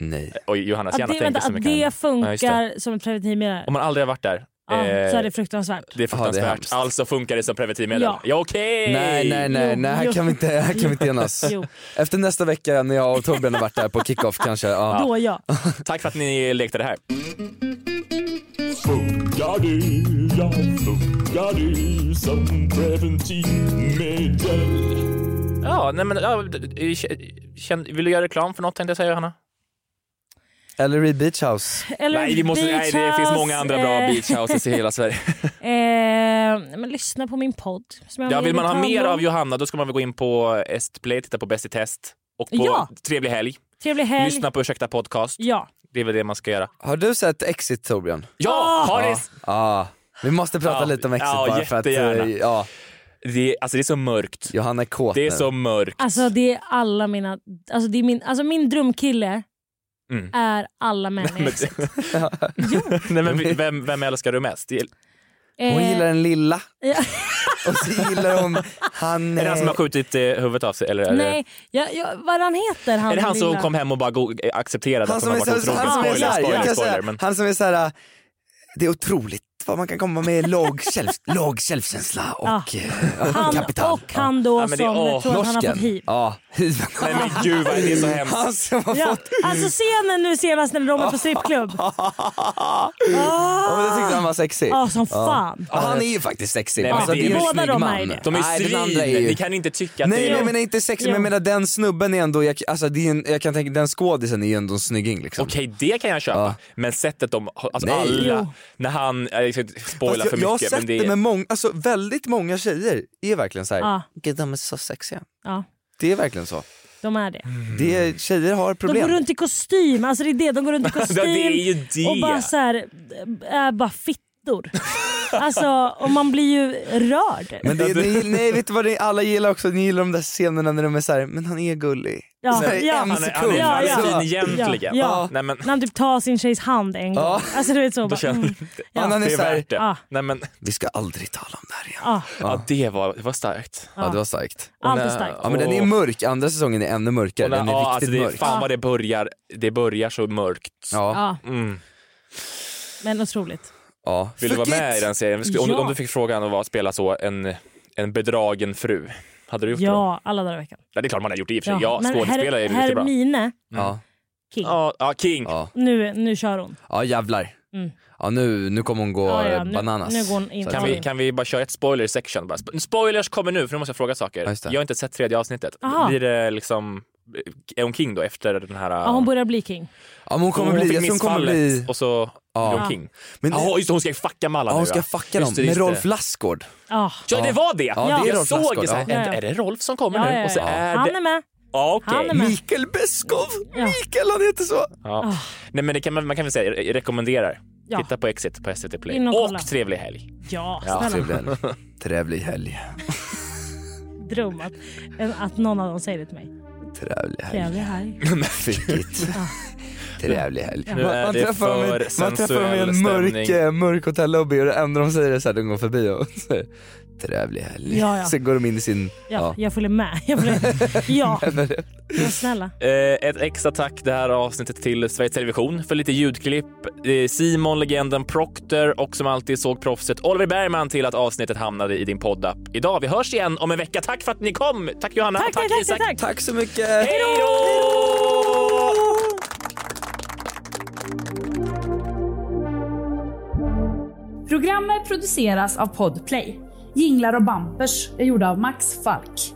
[SPEAKER 4] Nej.
[SPEAKER 2] Oj, Johannas
[SPEAKER 5] Att
[SPEAKER 2] hjärna
[SPEAKER 5] det,
[SPEAKER 2] tänker
[SPEAKER 5] vänta,
[SPEAKER 2] så
[SPEAKER 5] att
[SPEAKER 2] mycket. Ja,
[SPEAKER 5] det
[SPEAKER 2] just det.
[SPEAKER 5] funkar som ett preventivmedel.
[SPEAKER 2] Om man aldrig har varit där, eh,
[SPEAKER 5] Ja, så är det fruktansvärt.
[SPEAKER 2] Det är fruktansvärt. alltså funkar det som preventivmedel?
[SPEAKER 5] Ja.
[SPEAKER 2] Ja, okej!
[SPEAKER 4] Nej, nej, nej, nej här, kan vi inte, här kan vi inte enas.
[SPEAKER 5] Jo.
[SPEAKER 4] Efter nästa vecka när jag och Torbjörn har varit där på kickoff kanske. Ja.
[SPEAKER 2] *laughs*
[SPEAKER 5] Då ja.
[SPEAKER 2] Tack för att ni lekte det här.
[SPEAKER 17] Funkar det, ja funkar det som preventivmedel?
[SPEAKER 2] Ja, nej men, ja, d- d- känn, vill du göra reklam för något tänkte jag säga Johanna?
[SPEAKER 4] Ellery Beach House.
[SPEAKER 5] Eller
[SPEAKER 2] nej, vi måste, nej, det
[SPEAKER 5] beach
[SPEAKER 2] finns
[SPEAKER 5] house,
[SPEAKER 2] många andra bra
[SPEAKER 5] eh,
[SPEAKER 2] beachhouses i hela Sverige.
[SPEAKER 5] Eh, men lyssna på min podd. som jag
[SPEAKER 2] Ja,
[SPEAKER 5] har
[SPEAKER 2] vill man ha
[SPEAKER 5] gjort
[SPEAKER 2] mer
[SPEAKER 5] hand om.
[SPEAKER 2] av Johanna då ska man väl gå in på Estplay, titta på Bäst i test och på
[SPEAKER 5] Ja.
[SPEAKER 2] Trevlig helg.
[SPEAKER 5] Trevlig helg.
[SPEAKER 2] Lyssna på Ursäkta podcast.
[SPEAKER 5] Ja.
[SPEAKER 2] Det är väl det man ska göra.
[SPEAKER 4] Har du sett Exit Torbjörn?
[SPEAKER 2] Ja,
[SPEAKER 5] Ah!
[SPEAKER 2] har
[SPEAKER 4] Ja.
[SPEAKER 2] ni?
[SPEAKER 4] Ja. Vi måste prata lite om Exit
[SPEAKER 2] ja,
[SPEAKER 4] bara för att... eh,
[SPEAKER 2] jättegärna.
[SPEAKER 4] Ja. Ah.
[SPEAKER 2] Det, alltså det är så mörkt.
[SPEAKER 4] Johanna är kåt
[SPEAKER 2] Det är
[SPEAKER 4] nu.
[SPEAKER 2] så mörkt.
[SPEAKER 5] Alltså det är alla mina, alltså det är min, alltså min drömkille
[SPEAKER 2] Mm.
[SPEAKER 5] är alla människor.
[SPEAKER 2] Nej, men vem, vem älskar du mest? Det är-
[SPEAKER 4] *laughs* Hon
[SPEAKER 5] Eh,
[SPEAKER 4] gillar den lilla.
[SPEAKER 5] Ja.
[SPEAKER 4] Och så gillar hon han...
[SPEAKER 2] Är det han som
[SPEAKER 4] eh,
[SPEAKER 2] har skjutit eh, huvudet av sig? Eller är,
[SPEAKER 5] Nej, jag, jag, vad han heter han
[SPEAKER 2] det, är det han som
[SPEAKER 5] lilla?
[SPEAKER 2] kom hem och bara go- eh, accepterade
[SPEAKER 4] han
[SPEAKER 2] att
[SPEAKER 4] som
[SPEAKER 2] han
[SPEAKER 4] är
[SPEAKER 2] har varit
[SPEAKER 4] så han
[SPEAKER 2] otrogen?
[SPEAKER 4] som är så
[SPEAKER 2] Spoiler,
[SPEAKER 4] här, jag
[SPEAKER 2] spoiler,
[SPEAKER 4] kan
[SPEAKER 2] spoiler.
[SPEAKER 4] säga,
[SPEAKER 2] Men
[SPEAKER 4] han som är så här, äh, det är otroligt vad man kan komma med låg, själv, låg självkänsla och
[SPEAKER 5] Ja.
[SPEAKER 4] eh,
[SPEAKER 2] *laughs*
[SPEAKER 5] Han
[SPEAKER 4] kapital.
[SPEAKER 5] och han då
[SPEAKER 4] Ja, men det-
[SPEAKER 5] som
[SPEAKER 4] åh,
[SPEAKER 5] tror att han har
[SPEAKER 4] norsken.
[SPEAKER 5] fått hiv.
[SPEAKER 4] Ja, hiven.
[SPEAKER 2] Nej men gud vad det är så hemskt.
[SPEAKER 4] *laughs* Han som har
[SPEAKER 5] Ja,
[SPEAKER 4] fått...
[SPEAKER 5] alltså scenen nu senast när de är
[SPEAKER 2] *laughs*
[SPEAKER 5] på strippklubb.
[SPEAKER 4] Ja, men jag tyckte han var sexig.
[SPEAKER 5] Ja, som fan.
[SPEAKER 4] Ja, han är ju faktiskt sexig.
[SPEAKER 2] Nej, men
[SPEAKER 4] Alltså,
[SPEAKER 2] det
[SPEAKER 4] det är
[SPEAKER 2] är-
[SPEAKER 4] en
[SPEAKER 2] båda
[SPEAKER 4] snygg
[SPEAKER 5] de
[SPEAKER 4] man.
[SPEAKER 5] är det.
[SPEAKER 2] de är
[SPEAKER 4] Nej, den andra
[SPEAKER 2] svin.
[SPEAKER 4] är ju...
[SPEAKER 2] Ni kan inte tycka att
[SPEAKER 4] Nej,
[SPEAKER 2] det
[SPEAKER 4] jag
[SPEAKER 2] är...
[SPEAKER 4] menar inte sex, men
[SPEAKER 5] Jo.
[SPEAKER 4] jag menar den snubben är ändå, jag, alltså, det är en, jag kan tänka den skådisen är ju ändå en snygging liksom.
[SPEAKER 2] Okej, det kan jag köpa. Men sättet de... Alltså
[SPEAKER 4] Nej.
[SPEAKER 2] alla...
[SPEAKER 4] Jo.
[SPEAKER 2] När han... eh, Jag ska inte spoila för
[SPEAKER 4] Fast Alltså, jag, jag har
[SPEAKER 2] mycket.
[SPEAKER 4] sett
[SPEAKER 2] Men
[SPEAKER 4] det,
[SPEAKER 2] det *laughs* är...
[SPEAKER 4] med många, alltså väldigt många tjejer är verkligen så här.
[SPEAKER 5] Ja.
[SPEAKER 4] gud de är så sexiga.
[SPEAKER 5] Ja,
[SPEAKER 4] Det är verkligen så.
[SPEAKER 5] de är det.
[SPEAKER 4] Det
[SPEAKER 2] Mm.
[SPEAKER 4] är, tjejer har
[SPEAKER 5] De
[SPEAKER 4] problem.
[SPEAKER 5] går runt i kostym, alltså det är det. De går runt i
[SPEAKER 4] *laughs* Ja,
[SPEAKER 5] kostym
[SPEAKER 4] det är ju det.
[SPEAKER 5] och bara så här, är bara fittor. alltså, och man blir ju rörd.
[SPEAKER 4] Men det, ni, nej, vet du vad det, alla gillar också? Ni gillar de där scenerna när de är såhär, men han är gullig.
[SPEAKER 5] Ja,
[SPEAKER 4] Så här,
[SPEAKER 5] ja. Han
[SPEAKER 4] en
[SPEAKER 5] är-
[SPEAKER 4] sekund. Alltså,
[SPEAKER 5] han är fin
[SPEAKER 4] Så-
[SPEAKER 5] egentligen. Ja, ja.
[SPEAKER 2] Nej, men...
[SPEAKER 5] När han typ tar sin tjejs hand en gång.
[SPEAKER 4] Ja.
[SPEAKER 5] Alltså du vet så.
[SPEAKER 2] Då
[SPEAKER 5] Bara,
[SPEAKER 2] känner
[SPEAKER 5] mm.
[SPEAKER 2] jag inte.
[SPEAKER 5] Ja.
[SPEAKER 4] han är
[SPEAKER 2] Det är
[SPEAKER 4] så här-
[SPEAKER 2] värt det.
[SPEAKER 5] Ja.
[SPEAKER 2] Nej, men...
[SPEAKER 4] Vi ska aldrig tala om det här igen.
[SPEAKER 5] Ja.
[SPEAKER 2] Ja, det var, det var starkt.
[SPEAKER 4] Ja, det var starkt.
[SPEAKER 5] Allt är
[SPEAKER 2] Och när-
[SPEAKER 5] starkt.
[SPEAKER 4] Ja men den är
[SPEAKER 2] och-
[SPEAKER 4] mörk, andra säsongen är ännu mörkare.
[SPEAKER 2] och när-
[SPEAKER 4] Den är
[SPEAKER 2] ja,
[SPEAKER 4] riktigt
[SPEAKER 2] alltså det är
[SPEAKER 4] mörk.
[SPEAKER 2] Fan vad det börjar, det börjar så mörkt.
[SPEAKER 5] Ja.
[SPEAKER 2] Mm.
[SPEAKER 5] Men otroligt.
[SPEAKER 4] Ja.
[SPEAKER 2] Vill du vara
[SPEAKER 5] Fuck
[SPEAKER 2] med i
[SPEAKER 5] it!
[SPEAKER 2] den serien? Om, du-
[SPEAKER 5] Ja.
[SPEAKER 2] om du fick frågan att vara- spela så, en, en bedragen fru, hade du gjort det? då?
[SPEAKER 5] Ja, alla dagar i veckan.
[SPEAKER 2] Ja, det är klart man har gjort det i och för sig. Ja,
[SPEAKER 5] men
[SPEAKER 2] skådespelare är ju riktigt bra.
[SPEAKER 5] Hermine,
[SPEAKER 2] Mm.
[SPEAKER 4] Ja.
[SPEAKER 5] king.
[SPEAKER 2] Ja, ja, King.
[SPEAKER 5] Nu, nu kör hon.
[SPEAKER 4] ja jävlar.
[SPEAKER 5] Mm.
[SPEAKER 4] Ja nu, nu kommer hon gå
[SPEAKER 5] Ja, ja,
[SPEAKER 4] eh,
[SPEAKER 5] nu-
[SPEAKER 4] bananas.
[SPEAKER 5] nu går hon in.
[SPEAKER 4] Så-
[SPEAKER 2] Kan
[SPEAKER 5] Ja,
[SPEAKER 2] vi,
[SPEAKER 5] det.
[SPEAKER 2] kan vi bara köra ett spoiler section? Bara? Sp- Spoilers kommer nu, för nu måste jag fråga saker.
[SPEAKER 4] just det.
[SPEAKER 2] Jag har inte sett tredje avsnittet.
[SPEAKER 5] Aha.
[SPEAKER 2] Blir det liksom... Är hon king då efter den här...
[SPEAKER 5] Ja, hon börjar bli king.
[SPEAKER 4] Ja men hon kommer bli,
[SPEAKER 2] fick
[SPEAKER 4] jag tror hon kommer
[SPEAKER 2] missfallet
[SPEAKER 4] bli...
[SPEAKER 2] Och så blir hon king.
[SPEAKER 4] Men-
[SPEAKER 2] Jaha, just det, hon ska ju fucka med alla
[SPEAKER 4] Ja hon
[SPEAKER 2] nu,
[SPEAKER 4] ska fucka dem,
[SPEAKER 2] Just det,
[SPEAKER 4] med
[SPEAKER 2] just det.
[SPEAKER 4] Rolf Lassgård.
[SPEAKER 5] Ah.
[SPEAKER 2] Ja, det var det!
[SPEAKER 4] Ja, det är
[SPEAKER 2] jag
[SPEAKER 4] Rolf
[SPEAKER 2] såg
[SPEAKER 4] Lassgård,
[SPEAKER 2] så här,
[SPEAKER 4] ja.
[SPEAKER 2] är, är det Rolf som kommer
[SPEAKER 5] Ja,
[SPEAKER 2] nu?
[SPEAKER 5] ja,
[SPEAKER 2] Och så
[SPEAKER 5] ja.
[SPEAKER 2] är
[SPEAKER 5] Han
[SPEAKER 2] det...
[SPEAKER 5] är med.
[SPEAKER 2] Ja, okej.
[SPEAKER 5] Han är med.
[SPEAKER 4] Mikael Beskov!
[SPEAKER 5] Ja.
[SPEAKER 4] Mikael han heter så!
[SPEAKER 2] Ja. Nej, men det kan man, man kan väl säga, jag rekommenderar.
[SPEAKER 5] Ja.
[SPEAKER 2] Titta på Exit på SVT Play.
[SPEAKER 5] In och
[SPEAKER 2] Och,
[SPEAKER 5] kolla.
[SPEAKER 2] trevlig helg.
[SPEAKER 5] Ja,
[SPEAKER 2] Ja,
[SPEAKER 5] snälla.
[SPEAKER 4] Trevlig helg. Trevlig helg.
[SPEAKER 5] Dröm att, eh, att någon av dem säger det till mig.
[SPEAKER 4] Trevlig helg.
[SPEAKER 5] Trevlig helg.
[SPEAKER 2] *laughs*
[SPEAKER 4] Fick it. Trevlig helg.
[SPEAKER 5] Ja.
[SPEAKER 4] Man,
[SPEAKER 5] Nu
[SPEAKER 2] är
[SPEAKER 4] man
[SPEAKER 2] det
[SPEAKER 4] träffar dem
[SPEAKER 2] för
[SPEAKER 4] i, man träffar dem i en
[SPEAKER 2] sensuell
[SPEAKER 4] mörk,
[SPEAKER 2] stämning.
[SPEAKER 4] eh, mörk hotellobby och det enda de säger är såhär, de går förbi och *laughs* säger trevlig helg.
[SPEAKER 5] Ja, ja.
[SPEAKER 4] Sen går de in i sin,
[SPEAKER 5] Ja,
[SPEAKER 4] ja.
[SPEAKER 5] jag följer med. Jag följer... Ja, men snälla.
[SPEAKER 2] Eh, ett extra tack det här avsnittet till Sveriges Television för lite ljudklipp. Eh, Simon, legenden Proctor och som alltid såg proffset Oliver Bergman till att avsnittet hamnade i din poddapp idag. Vi hörs igen om en vecka. Tack för att ni kom! Tack Johanna
[SPEAKER 5] Tack,
[SPEAKER 2] och tack,
[SPEAKER 5] tack, tack,
[SPEAKER 2] Isak.
[SPEAKER 5] tack.
[SPEAKER 4] Tack så mycket!
[SPEAKER 2] Hej då!
[SPEAKER 18] Programmet produceras av Podplay. Jinglar och bampers är gjorda av Max Falk.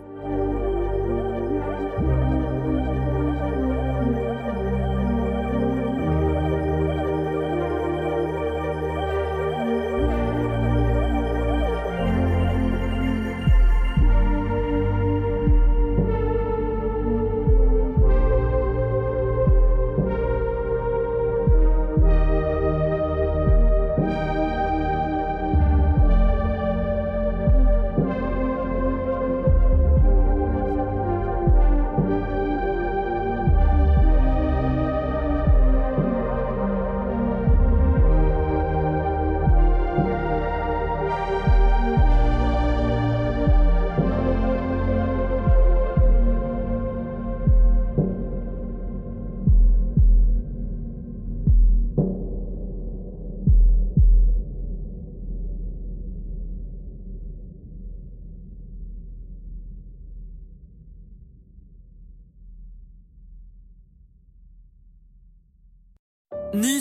[SPEAKER 6] Ny